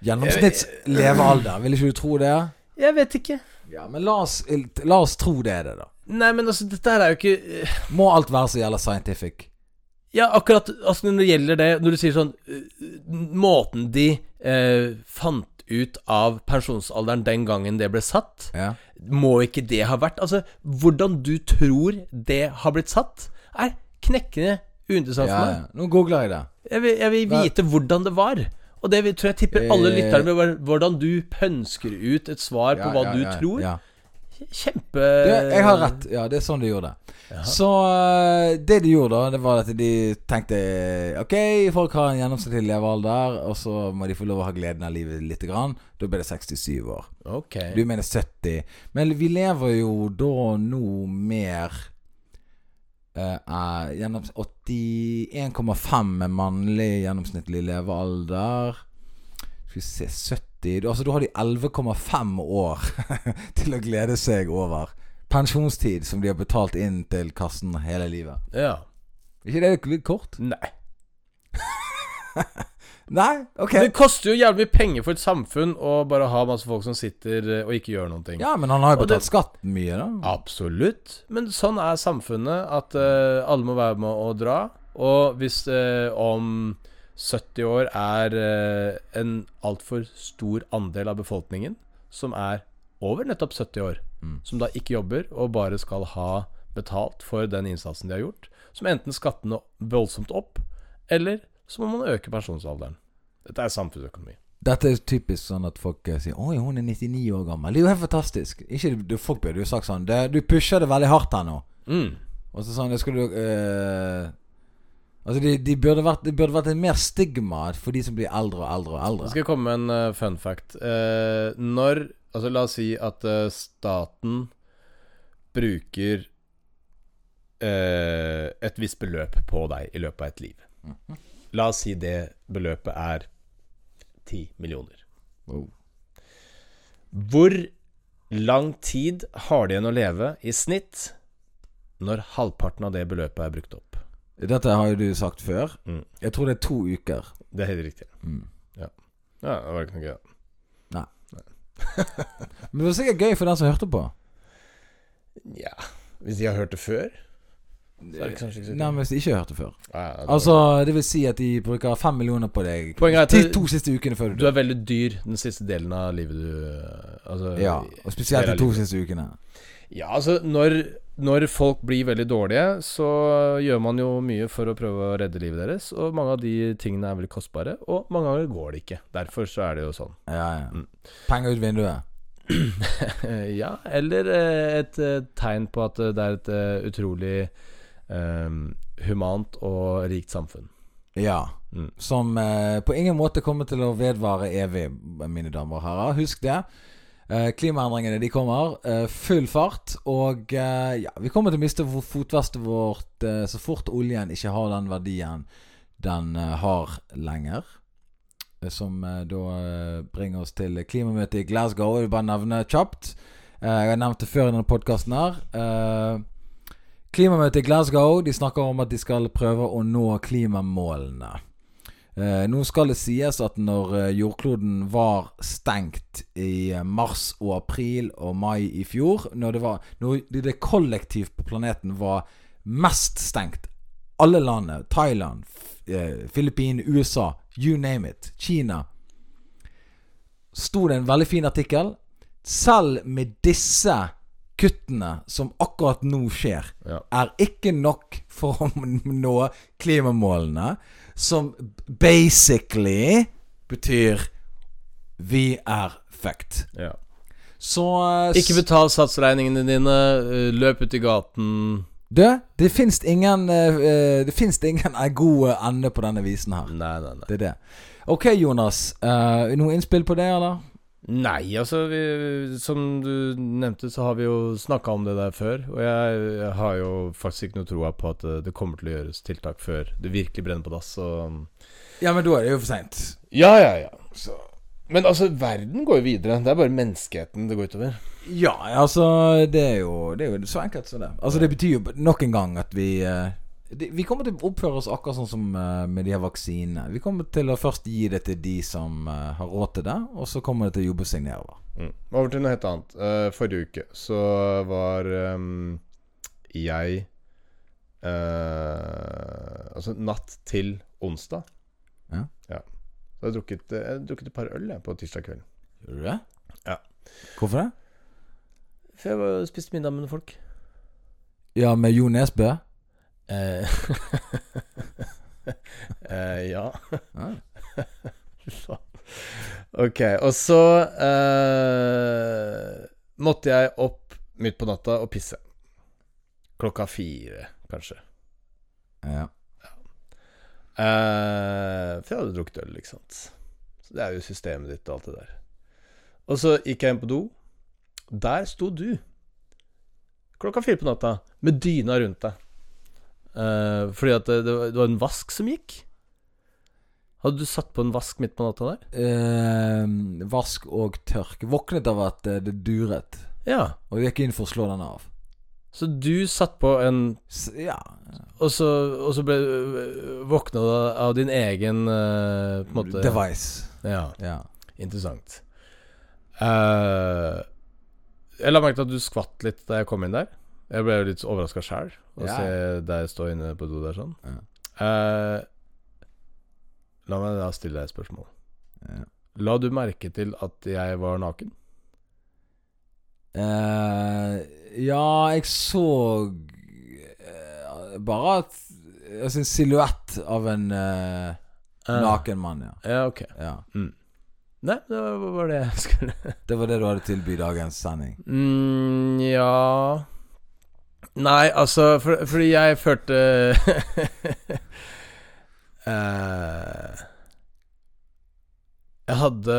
Gjennomsnitts levealder, vil ikke du tro det?
Jeg vet ikke.
eh, Ja, men la oss, eh, la oss tro det er det, da.
Nei, men altså, dette her er jo ikke eh,
Må alt være så gjelder scientific?
Ja, akkurat altså når det gjelder det Når du sier sånn øh, Måten de eh, fant ut av pensjonsalderen den gangen det ble satt,
Ja.
må ikke det ha vært Altså, hvordan du tror det har blitt satt, er knekkende uinteressant
ja,
for meg.
ja. Nå googler jeg det.
Jeg vil, jeg vil vite hvordan det var. Og det vil- tror jeg tipper alle
Eh.
lytterne vil være hvordan du pønsker ut et svar på
Ja,
hva
ja,
du
ja,
tror.
Ja.
Kjempe
Du, jeg har rett. Ja, det er sånn de gjorde det. Så eh, det de gjorde, da, det var at de tenkte Ok, folk har en gjennomsnittlig levealder, og så må de få lov å ha gleden av livet lite grann. Da ble det 67 år.
Ok.
Du mener 70. Men vi lever jo da nå mer eh, eh, gjennoms- 81,5 med mannlig gjennomsnittlig levealder. Skal vi se 70 Du- Altså da har de 11,5 år <laughs> til å glede seg over. Pensjonstid som de har betalt inn til kassen hele livet.
Ja.
Er ikke det litt kort?
Nei.
Nei, OK.
Det koster jo jævlig mye penger for et samfunn å bare ha masse folk som sitter eh, og ikke gjør noen ting.
Ja, men han har jo
Og det-
betalt skatt mye, da.
Absolutt. Men sånn er samfunnet, at eh, alle må være med å dra. Og hvis eh, om 70 år er eh, en altfor stor andel av befolkningen som er over nettopp 70 år, som da ikke jobber og bare skal ha betalt for den innsatsen de har gjort, som enten skattene voldsomt opp, eller så må man øke pensjonsalderen. Dette er samfunnsøkonomi.
Dette er typisk sånn at folk eh, sier 'Oi, hun er 99 år gammel'. Det er jo helt fantastisk. Ikke du, Folk burde jo sagt sånn det, 'Du pusher det veldig hardt her nå'.
Mm.
Og så sånn, det skulle du eh, Altså, de, de burde vært, det burde vært et mer stigma for de som blir eldre og eldre og
Jeg
eldre.
skal komme med en eh, fun fact. Eh, når Altså, la oss si at eh, staten bruker eh, et visst beløp på deg i løpet av et liv. La oss si det beløpet er ti millioner.
Wow.
Hvor lang tid har de igjen å leve i snitt når halvparten av det beløpet er brukt opp?
Dette har jo du sagt før.
Mm.
Jeg tror det er to uker.
Det er helt riktig.
Mm.
Ja. ja, det var ikke noe gøy. da.
Men det var sikkert gøy for den som hørte på.
Nja Hvis de har hørt det før, så er det kanskje ikke så gøy.
Nei, men hvis de ikke hørte før.
Ja, ja, det var-
Altså, det vil si at de bruker fem millioner på deg
Poenget er at
de
det-
to siste ukene før du
Du
dør.
er veldig dyr den siste delen av livet du eh, altså,
Ja, og spesielt de to siste ukene.
Ja, altså når, når folk blir veldig dårlige, så gjør man jo mye for å prøve å redde livet deres, og mange av de tingene er veldig kostbare, og mange ganger går det ikke. Derfor så er det jo sånn.
Ja, ja.
Mm.
Penger ut vinduet.
Eh, ja, eller eh, et eh, tegn på at eh, det er et eh, utrolig eh, humant og rikt samfunn.
Ja.
Mm.
Som eh, på ingen måte kommer til å vedvare evig, mine damer og herrer. Husk det. Eh, klimaendringene de kommer. Eh, full fart. Og eh, ja, vi kommer til å miste vo- fotvestet vårt eh, så fort oljen ikke har den verdien den eh, har lenger. Eh, Som eh, da eh, bringer oss til klimamøtet i Glasgow. Jeg vil bare nevne kjapt. Eh, jeg har nevnt det før i denne podkasten her. Eh, Klimamøtet i Glasgow De snakker om at de skal prøve å nå klimamålene. Eh, nå skal det sies at når eh, jordkloden var stengt i eh, mars og april og mai i fjor, når det, var, når det- det kollektivt på planeten var mest stengt Alle landene, Thailand, F- eh, Filippinene, USA, you name it, Kina Sto det en veldig fin artikkel. Selv med disse kuttene som akkurat nå skjer,
Ja.
er ikke nok for å <laughs> nå klimamålene, som basically betyr vi er fucked.
Ja.
Så eh,
Ikke betal satsregningene dine, eh, løp ut i gaten.
Du, det fins ingen eh, eh, Det finnes ingen <laughs> eh, god ende på denne visen her.
Nei, nei, nei.
Det er det. OK, Jonas. eh, noe innspill på det, eller?
Nei, altså vi, Som du nevnte, så har vi jo snakka om det der før. Og jeg, jeg har jo faktisk ikke noe troa på at eh, det kommer til å gjøres tiltak før det virkelig brenner på dass. Og
Ja, men da er det jo for seint.
Ja, ja, ja. Men altså, verden går jo videre. Det er bare menneskeheten det går utover.
Ja, altså det er, jo, det er jo så enkelt som det. Altså Det betyr jo nok en gang at vi eh, det- Vi kommer til å oppføre oss akkurat sånn som eh, med de her vaksinene. Vi kommer til å først gi det til de som eh, har råd til det, og så kommer det til å jobbe seg nedover.
Mm. Over til noe helt annet. Eh, forrige uke så var ehm, jeg eh, Altså natt til onsdag.
Ja.
Så jeg har drukket, eh, jeg har drukket et par øl jeg, på tirsdag kveld.
Gjør du det?
Ja.
Hvorfor det?
For jeg var- spiste middag med noen folk.
Ja, med Jo Nesbø?
Eh, <laughs> eh, ja.
Ja.
<laughs> Fy faen. ok, og så eh, måtte jeg opp midt på natta og pisse. Klokka fire, kanskje.
Ja.
Eh, for jeg hadde drukket øl, ikke sant. Så det er jo systemet ditt og alt det der. Og så gikk jeg inn på do. Der sto du. Klokka fire på natta, med dyna rundt deg. Eh, fordi at det, det var- det var en vask som gikk. Hadde du satt på en vask midt på natta der?
Eh, vask og tørk. Våknet av at eh, det duret,
Ja.
og gikk inn for å slå den av.
Så du satt på en
S ja.
Og så, og så ble, våkna du av din egen eh, på en måte
Device.
Ja,
Ja.
interessant. Eh, jeg la merke til at du skvatt litt da jeg kom inn der. Jeg ble jo litt overraska sjæl å
Ja.
se deg stå inne på do der sånn.
Ja.
Eh, la meg da stille deg et spørsmål.
Ja.
La du merke til at jeg var naken?
Eh, ja, jeg så eh, bare at altså, En silhuett av en eh,
Eh,
naken mann, ja.
Ja, ok.
ja.
Nei, det var bare det jeg skulle
Det var det du hadde tilby i dagens sending.
Mm, ja Nei, altså for, Fordi jeg følte <laughs> eh, Jeg hadde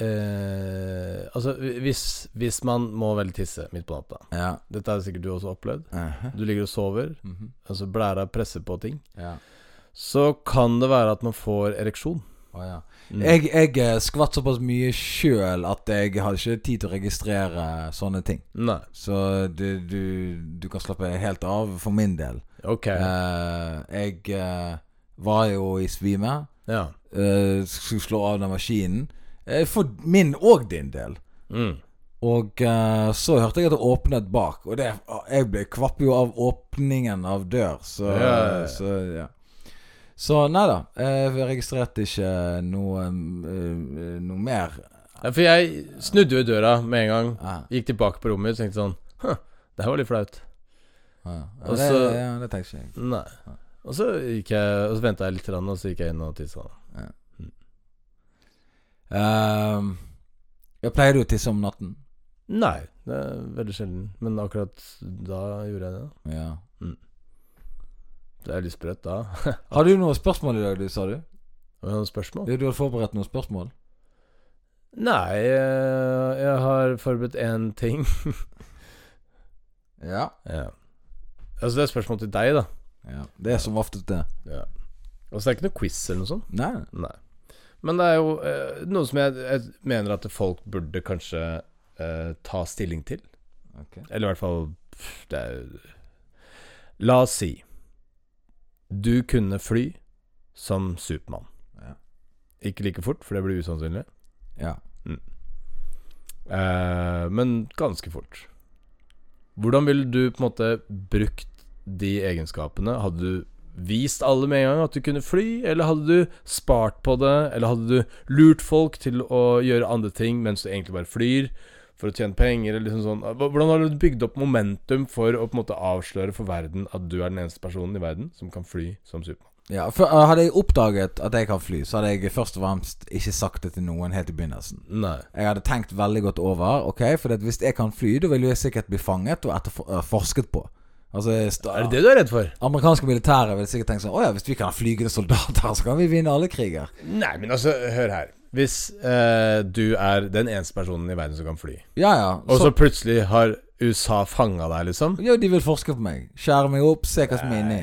eh, Altså, hvis, hvis man må veldig tisse midt på natta
Ja.
Dette har sikkert du også opplevd.
Mhm.
Du ligger og sover,
Mhm.
altså blæra presser på ting.
ja.
Så kan det være at man får ereksjon.
Å, ja.
Mm.
Jeg, jeg eh, skvatt såpass mye sjøl at jeg hadde ikke tid til å registrere sånne ting.
Nei.
Så du, du, du kan slappe helt av for min del.
Ok.
Eh, jeg eh, var jo i svime.
Ja.
Eh, skulle slå av den maskinen. Eh, for min og din del.
Mm.
Og eh, så hørte jeg at det åpnet bak, og det, jeg ble kvapp jo av åpningen av dør, så
Ja, ja, ja.
Så, ja. så nei da. Jeg registrerte ikke noe, eh, noe mer.
Ja, for jeg snudde jo i døra med en gang.
Ja,
Gikk tilbake på rommet og tenkte sånn Hå, det her var litt flaut.
ja. Ja,
Og
det,
så-
ja, det tenkte ikke jeg.
Nei. Og så gikk jeg Og så venta jeg litt, grann, og så gikk jeg inn og tissa.
Ehm, jeg pleier jo å tisse om natten.
Nei, det er veldig sjelden. Men akkurat da gjorde jeg det.
Ja.
Det er litt sprøtt da.
Har du noen spørsmål i dag, du, sa du?
Har du noen spørsmål?
Du hadde forberedt noen spørsmål?
Nei, eh, jeg har forberedt én ting.
Ja.
ja. Altså, det er spørsmål til deg, da.
ja. Det er som oftest det.
Ja. Altså, det er ikke noe quiz eller noe sånt.
Nei.
Nei. Men det er jo eh, noe som jeg, jeg mener at folk burde kanskje eh, ta stilling til.
Ok.
Eller i hvert fall pff, det er, jo- La oss si du kunne fly som Supermann.
Ja.
Ikke like fort, for det blir usannsynlig.
Ja.
Eh, men ganske fort. Hvordan ville du på en måte brukt de egenskapene? Hadde du vist alle med en gang at du kunne fly, eller hadde du spart på det? Eller hadde du lurt folk til å gjøre andre ting mens du egentlig bare flyr? For å tjene penger, eller liksom sånn. Hva- Hvordan har du bygd opp momentum for å på en måte avsløre for verden at du er den eneste personen i verden som kan fly som Supermann?
Ja, for uh, Hadde jeg oppdaget at jeg kan fly, så hadde jeg først og fremst ikke sagt det til noen helt i begynnelsen.
Nei.
Jeg hadde tenkt veldig godt over. Ok, For at hvis jeg kan fly, da vil jo jeg sikkert bli fanget og etterfor- uh, forsket på. Altså sta-
Er det det du er redd for?
Amerikanske militære vil sikkert tenke sånn Å ja, hvis vi kan ha flygende soldater, <laughs> så kan vi vinne alle kriger.
Nei, men altså, hør her. Hvis eh, du er den eneste personen i verden som kan fly,
Ja ja.
Og så
Så,
plutselig har USA fanga deg, liksom.
jo, de vil forske på meg. Skjære meg opp, se hva som er inni.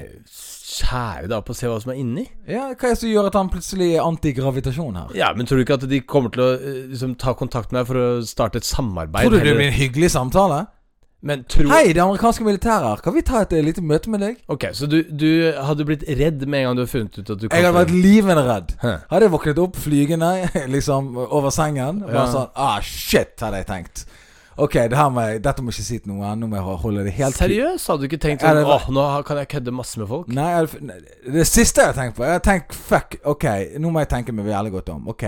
Skjære deg opp og se hva som er inni?
Ja, Hva er det som gjør at han plutselig er antigravitasjon her?
Ja, men tror du ikke at de kommer til å eh, liksom, ta kontakt med deg for å starte et samarbeid?
Tror du det
heller?
blir en hyggelig samtale?
Men tro
Hei, det er amerikanske militære her. Kan vi ta et eh, lite møte med deg?
Ok, så du, du hadde blitt redd med en gang du hadde funnet ut at du
Jeg hadde vært livende redd.
Hæ.
Hadde jeg våknet opp flygende <laughs> liksom over sengen og Bare
Ja.
sånn Ah, shit, hadde jeg tenkt. Ok, det her må jeg, dette må jeg ikke si til noen. Nå må jeg holde det helt
Seriøst? Hadde du ikke tenkt
Jeg
sånn
hadde Mm. vært-
Åh, nå kan jeg kødde masse med folk?
Nei, jeg hadde f- nei, det siste jeg har tenkt på Jeg har tenkt fuck, ok, nå må jeg tenke meg veldig godt om. Ok,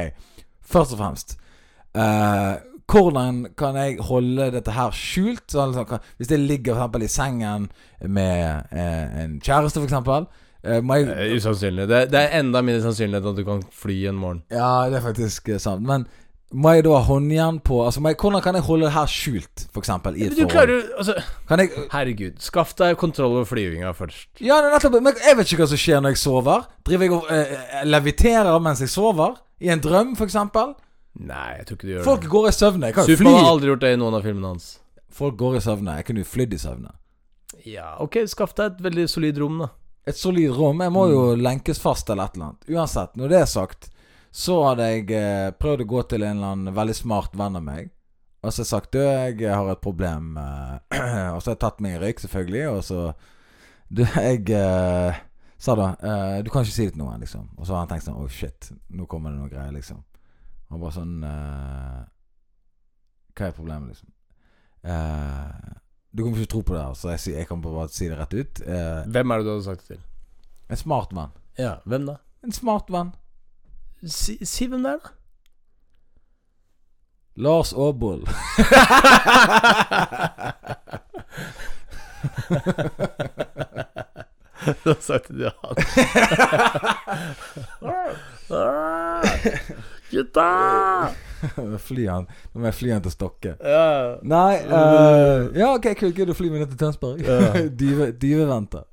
først og fremst eh, Hvordan kan jeg holde dette her skjult? Sånn, liksom, kan- hvis jeg ligger for eksempel i sengen med eh, en kjæreste, for eksempel. eh, må jeg
Eh, Usannsynlig. Det, det er enda mindre sannsynlighet at du kan fly en morgen.
Ja, det er faktisk eh, sant. Men må jeg da ha håndjern på Altså, må jeg, Hvordan kan jeg holde det her skjult, for eksempel, i et
Men du
forhold?
klarer jo Altså,
Kan jeg eh,
herregud. Skaff deg kontroll over flyvinga først.
Ja, det er nettopp Men jeg vet ikke hva som skjer når jeg sover. Driver jeg og eh, eh, leviterer mens jeg sover? I en drøm, for eksempel?
Nei, jeg tror ikke du gjør
Folk
det.
går i søvne. Jeg kan jo fly.
Supermann har aldri gjort det i noen av filmene hans.
Folk går i søvne. Jeg kunne jo flydd i søvne.
Ja, ok, skaff deg et veldig solid rom, da.
Et solid rom. Jeg må jo lenkes fast eller et eller annet. Uansett, når det er sagt, så hadde jeg eh, prøvd å gå til en eller annen veldig smart venn av meg Og så har jeg sagt du, jeg har et problem. eh, <clears throat> og så har jeg tatt meg en røyk, selvfølgelig. Og så Du, jeg eh, sa da eh, Du kan ikke si det til noen, liksom. Og så har han tenkt sånn Å, shit. Nå kommer det noe greier, liksom. Han bare sånn eh, Hva er problemet, liksom? Eh, du kommer ikke til å tro på det, her, så jeg, sier- jeg kan bare si det rett ut. Eh,
Hvem er det du hadde sagt det til?
en smart venn.
Ja, hvem da?
En smart venn.
Si, si hvem det er, da.
Lars Aabol.
<laughs> Du har sagt det til han. <laughs> Gutta!
<laughs> fly han. Nå må jeg fly han til Stokke.
Ja.
Nei eh, Ja, ok, kult. Gidder du å fly meg ned til Tønsberg?
Ja.
<laughs> Dyve- Dyveventer.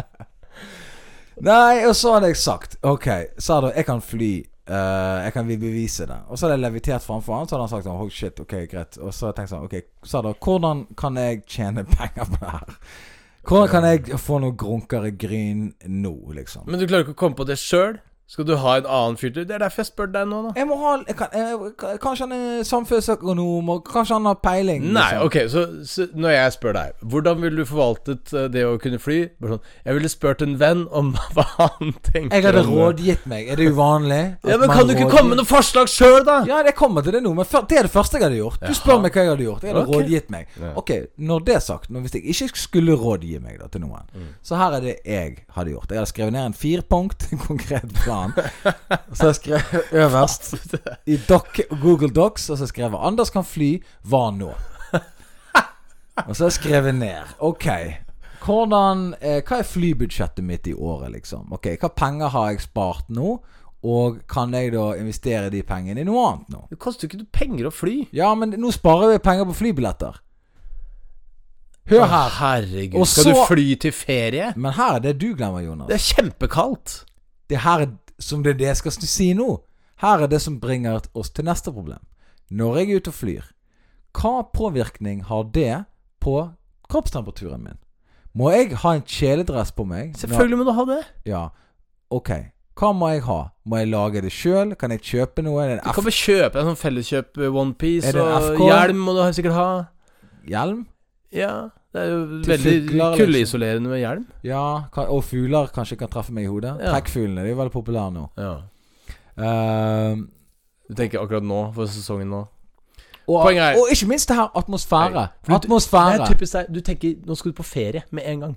<laughs> Nei, og så hadde jeg sagt Ok, sa du, jeg kan fly. eh, jeg kan bevise det. Og så hadde jeg levitert framfor han, så hadde han sagt sånn Oh shit, ok, greit. Og så hadde jeg tenkt sånn Ok, sa du, hvordan kan jeg tjene penger på det her? Hvordan kan jeg få noe grunkere gryn nå, liksom?
Men du klarer ikke å komme på det sjøl? Skal du ha en annen fyr til? Det er derfor jeg spør deg nå, da.
Jeg må ha jeg kan, jeg, Kanskje han er samfunnsøkonom, og kanskje han har peiling.
Nei,
liksom.
ok, så, så når jeg spør deg Hvordan ville du forvaltet eh, det å kunne fly? Bare sånn, Jeg ville spurt en venn om <laughs> hva han tenker
Jeg hadde
om det.
rådgitt meg. Er det uvanlig?
Ja, men Kan du ikke komme med noe forslag sjøl, da?
Ja, det kommer til det nå, men før- det er det første jeg hadde gjort. Du spør meg hva jeg hadde gjort. Jeg hadde
Ok.
rådgitt meg. Ok, når det er sagt, når, hvis jeg ikke skulle rådgi meg da til noen,
Mm.
så her er det jeg hadde gjort. Jeg hadde skrevet ned en firpunkt, <laughs> en konkret plan. så jeg
<laughs>
skrev øverst i doc, Google Docs, og så skrev jeg 'Anders kan fly, hva nå?' Og så har jeg skrevet ned. Ok. Hvordan, eh, hva er flybudsjettet mitt i året, liksom? Ok, Hva penger har jeg spart nå? Og kan jeg da investere de pengene i noe annet nå?
Det koster jo ikke noe penger å fly.
Ja, men nå sparer vi penger på flybilletter. Hør
Å,
her.
Herregud.
Og
Skal du
så-
fly til ferie?
Men her er det du glemmer, Jonas.
Det er kjempekaldt.
Det her er som det er det jeg skal si nå. Her er det som bringer oss til neste problem. Når jeg er ute og flyr, hva påvirkning har det på kroppstemperaturen min? Må jeg ha en kjeledress på meg?
Selvfølgelig må du ha det.
Nå- Ja. Ok. Hva må jeg ha? Må jeg lage det sjøl? Kan jeg kjøpe noe? Er det
Du
en
kan bare kjøpe en sånn felleskjøp eh,
Er
onepiece
det en
og
FK?
hjelm må du ha- sikkert ha.
F-hjelm?
Ja. Det er jo
Til
veldig
fugler, liksom.
kuldeisolerende med hjelm.
Ja. kan- Og fugler kanskje kan treffe meg i hodet?
Ja.
Trekkfuglene de er veldig populære nå.
Ja.
Ehm,
Du tenker akkurat nå, for sesongen nå.
og,
Poenget er-
og ikke minst det her atmosfære.
Nei, for du- Det
Atmosfære.
er typisk deg. Du tenker nå skal du på ferie med en gang.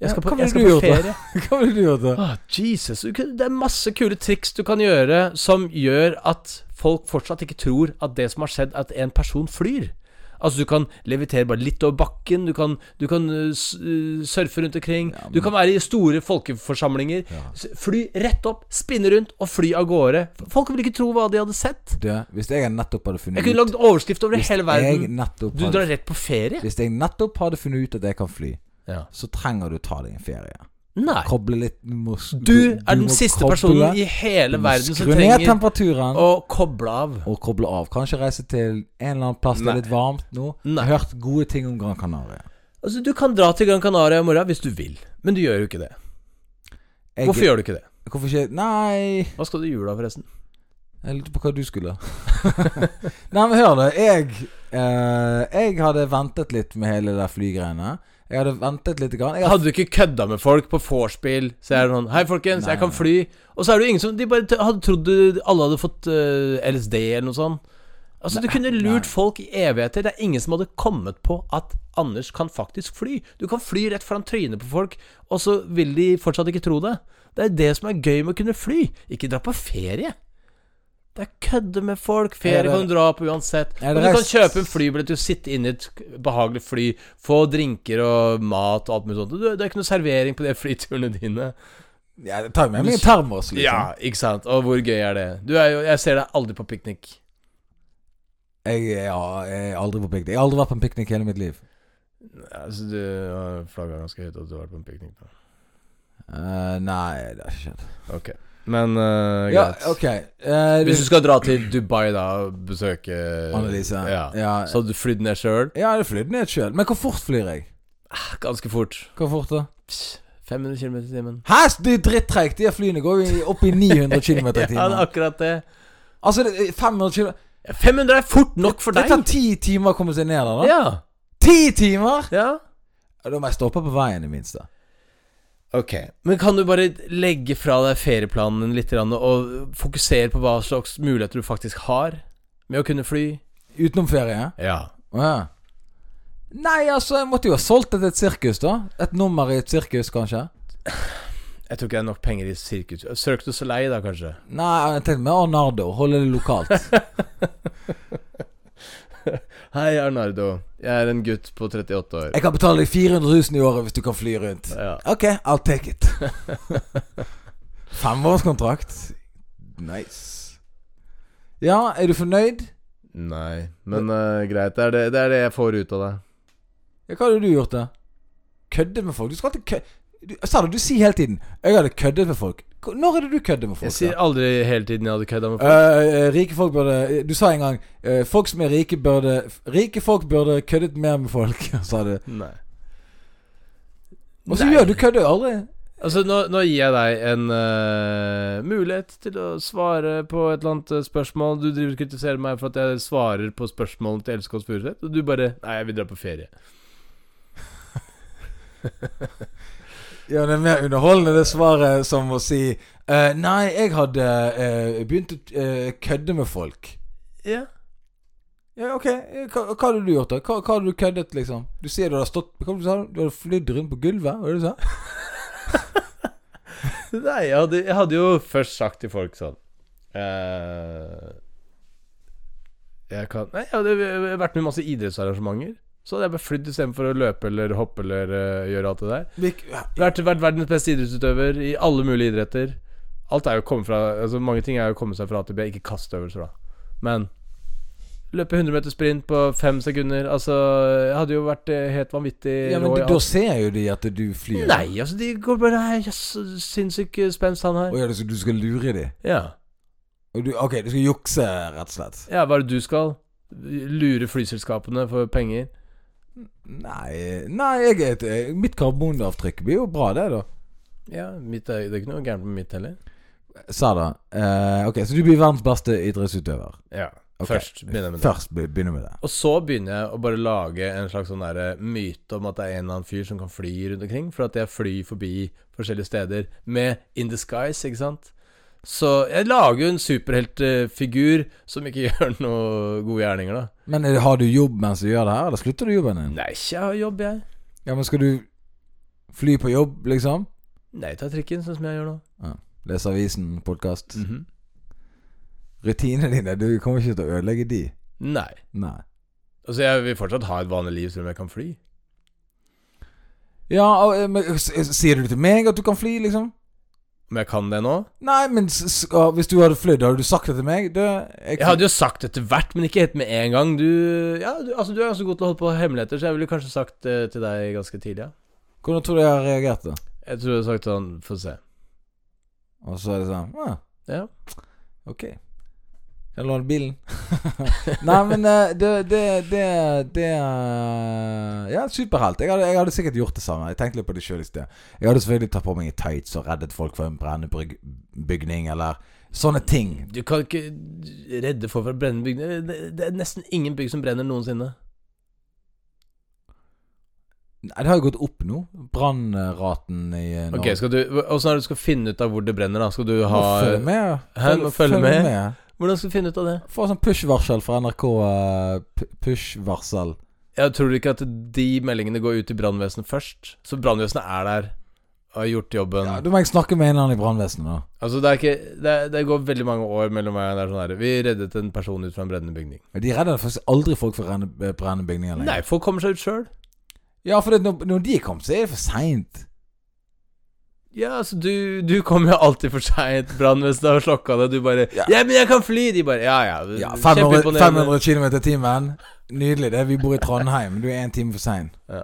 Jeg skal
Ja,
på,
hva ville
jeg skal
du gjort
på
da?
ferie.
<laughs> Hva ville du gjort da?
<laughs> Ah, Jesus. du kan- Det er masse kule triks du kan gjøre som gjør at folk fortsatt ikke tror at det som har skjedd, er at en person flyr. Altså, du kan levitere bare litt over bakken, du kan, du kan uh, s- uh, surfe rundt omkring, du kan være i store folkeforsamlinger. S- Fly rett opp, spinne rundt og fly av gårde. Folk ville ikke tro hva de hadde sett.
Du, hvis jeg nettopp hadde funnet
Jeg kunne lagd overskrift over hele
jeg
verden.
nettopp
Du drar
hadde,
rett på ferie?
Hvis jeg nettopp hadde funnet ut at jeg kan fly,
Ja.
så trenger du ta deg en ferie.
Nei.
Koble litt Du, må, s-
Du er den
må
siste
koble,
personen i hele
du må
verden som
Skru ned
trenger
temperaturen
å koble av.
og koble av. Kanskje reise til en eller annen plass det
Nei.
er litt varmt nå.
Nei.
Jeg har hørt gode ting om Gran Canaria.
Altså, du kan dra til Gran Canaria i morgen hvis du vil, men du gjør jo ikke det.
Jeg,
Hvorfor gjør du ikke det?
Hvorfor ikke Nei
Hva skal du i jula, forresten?
Jeg lurte på hva du skulle. <laughs> Nei, men hør, da. Jeg, eh, jeg hadde ventet litt med hele det der flygreiene. Jeg hadde ventet litt. Grann. Jeg hadde
Hadde du ikke kødda med folk på vorspiel? Så er det sånn Hei, folkens, jeg kan fly. Og så er det jo ingen som De bare t- hadde trodd du- alle hadde fått eh, LSD eller noe sånt. Altså, Du kunne lurt folk i evigheter. Det er ingen som hadde kommet på at Anders kan faktisk fly. Du kan fly rett foran trynet på folk, og så vil de fortsatt ikke tro det. Det er det som er gøy med å kunne fly. Ikke dra på ferie. Det er kødde med folk. Ferie
Er det-
kan du dra på uansett.
Er
Og
det
du kan
rest-
kjøpe en flybillett, du sitter inne i et behagelig fly, få drinker og mat og alt mulig sånt. Du, det er ikke noe servering på de <laughs> flyturene dine.
Ja, det tar jo med meg en termos, liksom.
Ja, ikke sant? Og hvor gøy er det? Du er jo Jeg ser deg aldri på piknik.
Jeg, ja, jeg er aldri på piknik. Jeg har aldri vært på en piknik i hele mitt liv.
Altså, du har flagga ganske høyt at du har vært på en piknik. da.
Eh, nei, det har ikke skjedd.
Ok. Men eh,
Ja,
greit.
ok. Eh,
Hvis du skal dra til Dubai, da, og besøke
Annelise.
Ja.
ja.
Så hadde du flydd ned sjøl?
Ja, jeg flydde ned sjøl. Men hvor fort flyr jeg?
Ganske fort.
Hvor fort da?
Pss, 500 km i timen.
Hæ, det er
<laughs>
drittreigt! De her flyene går jo i- opp i 900 km i
Ja, det er
timen.
akkurat det.
Altså, det er 500 km
500 er fort nok for
Det
deg!
tar ti timer å komme seg ned der, da.
Ja.
Ti timer!
ja.
Ja, Da må jeg stoppe på veien, i det minste.
Ok. Men kan du bare legge fra deg ferieplanen litt grann, og fokusere på hva slags muligheter du faktisk har med å kunne fly?
Utenom ferie.
Ja.
Å ja. Nei, altså, jeg måtte jo ha solgt det til et sirkus, da. Et nummer i et sirkus, kanskje.
Jeg tror ikke det er nok penger i sirkus. Cirque du Soleil, da, kanskje?
Nei, jeg tenkte med Arnardo. Holde det lokalt.
Hei, Arnardo. Jeg er en gutt på 38 år.
Jeg kan betale deg 400 000 i året hvis du kan fly rundt.
Ja.
Ok, I'll take it. <laughs> Femårskontrakt. Nice. Ja, er du fornøyd?
Nei, men eh, greit. Det er det, det er det jeg får ut av det.
Ja, hva hadde du gjort, da? Kødde med folk? Du skal alltid kødde du, Sa det, du sier hele tiden 'Jeg hadde køddet med folk'. Hvor- Når er det du kødder med folk?
Jeg sier
da?
aldri hele tiden jeg hadde kødda med folk.
Eh, eh, rike folk burde Du sa en gang eh, 'Folk som er rike, burde Rike folk burde køddet mer med folk', <laughs> sa du.
Nei.
Og så
Nei.
gjør du kødder jo aldri.
Altså, nå, nå gir jeg deg en eh, mulighet til å svare på et eller annet eh, spørsmål. Du driver og kritiserer meg for at jeg svarer på spørsmålene til Else Kåss Furuseth, og du bare Nei, jeg vil dra på ferie.
Ja, det er mer underholdende det svaret som å si eh, Nei, jeg hadde eh, begynt å eh, kødde med folk.
Ja. <laughs>
Ja, ok, eh, hva, hva hadde du gjort da? Hva, hva hadde du køddet, liksom? Du sier du hadde stått Hva var det du sa du? Du hadde flydd rundt på gulvet? Hva var det du sa?
Nei, jeg hadde, jeg hadde jo først sagt til folk sånn eh, Jeg kan Nei, jeg hadde vært med i masse idrettsarrangementer. Så hadde jeg bare flydd istedenfor å løpe eller hoppe eller eh, gjøre alt det der.
Hvilk- ja,
Vært, vært verdens beste idrettsutøver i alle mulige idretter. Alt er jo å komme fra Altså Mange ting er jo å komme seg fra A til B, ikke kastøvelser, da. Men løpe 100 meter sprint på fem sekunder Altså, jeg hadde jo vært eh, helt vanvittig
Ja, men
rå i
da-
alt.
da ser jo de at du flyr.
Nei, altså, de går bare Nei, jøss, sinnssyk eh, spenst, han her.
Å ja, du, skal- du skal lure de?
Ja.
Og du, ok, du skal jukse, rett og slett?
ja, hva er det du skal? Lure flyselskapene for penger?
Nei, nei jeg, er et- eh, mitt karbonavtrykk blir jo bra, det, da.
Ja, mitt er, det er ikke noe gærent med mitt heller.
Sa da. Eh, ok, så du blir verdens beste idrettsutøver.
Ja,
Ok.
Først begynner jeg <laughs> med det.
Først be- begynner med det.
Og så begynner jeg å bare lage en slags sånn der myte om at det er en eller annen fyr som kan fly rundt omkring, for at jeg flyr forbi forskjellige steder med In the Skies, ikke sant? Så jeg lager jo en superheltfigur som ikke <laughs> gjør noe gode gjerninger, da.
Men er det, har du jobb mens du gjør det her, eller slutter du jobben din?
Nei, ikke jeg har jobb, jeg.
Ja, men skal du fly på jobb, liksom?
Nei, ta trikken, sånn som jeg gjør nå.
Lese avisen, podkast.
Mhm.
Rutinene dine, du kommer ikke til å ødelegge de.
Nei.
Nei.
Altså, jeg vil fortsatt ha et vanlig liv selv om jeg kan fly.
Ja, og, eh, men s- s- sier du til meg at du kan fly, liksom?
Om jeg kan det nå?
Nei, men s s ja, hvis du hadde flydd, hadde du sagt det til meg? Du, jeg,
Jeg hadde jo sagt etter hvert, men ikke helt med en gang. Du, ja, du, altså, du er ganske god til å holde på hemmeligheter, så jeg ville kanskje sagt det til deg ganske tidlig. Ja.
Hvordan tror du jeg har reagert da?
Jeg tror jeg hadde sagt sånn Få se.
Og så er det sånn ah,
Ja.
Ok. Kan jeg låne bilen?
<laughs>
Nei, men eh, det Det, det, det eh, Ja, superhelt. Jeg hadde, jeg hadde sikkert gjort det samme. Jeg tenkte litt på det sjøl i sted. Jeg hadde selvfølgelig tatt på meg i tights og reddet folk fra en brennende bryg- bygning, eller sånne ting.
Du kan ikke redde folk fra brennende bygninger. Det, det er nesten ingen bygg som brenner noensinne.
Nei, det har jo gått opp nå. Brannraten i eh,
Ok,
Norge.
skal du Åssen er det du skal finne ut av hvor det brenner, da? Skal du
Må
ha eh,
følge med.
Hæ, må følge med.
med.
Hvordan skal du finne ut av det?
Få sånn push-varsel fra NRK. eh, p- push-varsel.
Jeg tror ikke at de meldingene går ut til brannvesenet først. Så brannvesenet er der og har gjort jobben.
Ja, da må jeg snakke med en eller annen i brannvesenet, da.
Altså, det er ikke det, er, det går veldig mange år mellom meg og det er sånn her Vi reddet en person ut fra en brennende bygning.
Men De redder faktisk aldri folk fra renne- brennende bygninger lenger.
Nei, folk kommer seg ut sjøl.
Ja, for det, når, når de kom, så er det for seint.
Ja, altså, du, du kommer jo alltid for seint. Brannvesenet har slokka det, du bare
Ja.
ja. men jeg kan fly!' De bare Ja, ja.
Ja,
kjempeimponerende.»
500, 500 km i timen. Nydelig, det. Vi bor i Trondheim. Du er én time for sein.
Ja.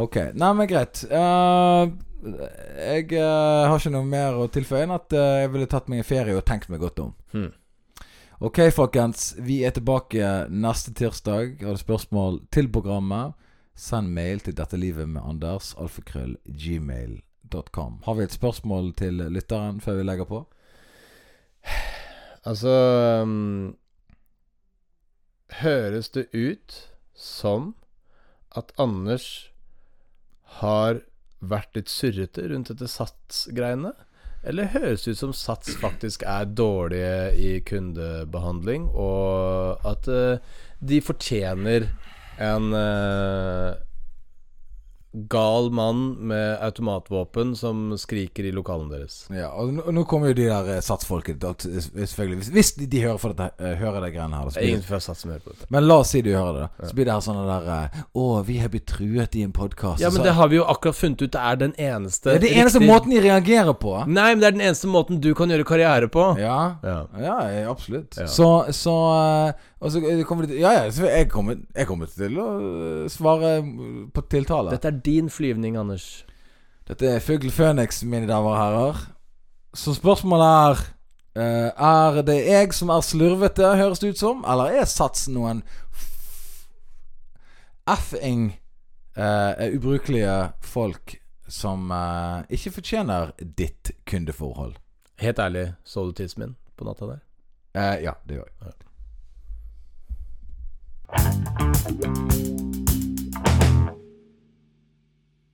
Ok. Nei, men greit. Eh, jeg eh, har ikke noe mer å tilføye enn at eh, jeg ville tatt meg en ferie og tenkt meg godt om.
Hmm.
Ok, folkens. Vi er tilbake neste tirsdag. Har du spørsmål til programmet, send mail til dette livet med Anders. Alfakrøll. Gmail.com. Har vi et spørsmål til lytteren før vi legger på?
Altså um, høres det ut som at Anders har vært litt surrete rundt dette Sats-greiene? Eller høres det ut som Sats faktisk er dårlige i kundebehandling, og at eh, de fortjener en eh, gal mann med automatvåpen som skriker i lokalene deres?
Ja, og nå, nå kommer jo de der eh, satsfolket da, t- selvfølgelig. Hvis, hvis de, de hører, for dette, eh, hører det greiene her, da, så blir
Det er
det-
ingen fra Sats som hører på dette.
Men la oss si du hører det, da. Så blir det her sånne der eh, Å, vi har blitt truet i en podkast.
Ja, men det har vi jo akkurat funnet ut. Det er den eneste
det er den eneste
riktige-
måten de reagerer på.
Nei, men det er den eneste måten du kan gjøre karriere på.
Ja.
Ja.
Ja, eh, absolutt.
Ja.
Så, så eh, Og så eh, kommer de til Ja, ja, så jeg kommer, jeg kommer til å eh, svare eh, på tiltale.
Dette er din flyvning, Anders.
Dette er Fugl Føniks, mine damer og herrer. Så spørsmålet er eh, Er det jeg som er slurvete, høres det ut som, eller er Sats noen f- effing eh, ubrukelige folk som eh, ikke fortjener ditt kundeforhold?
Helt ærlig, så du tissen min på natta der?
Eh, ja, det gjør jeg.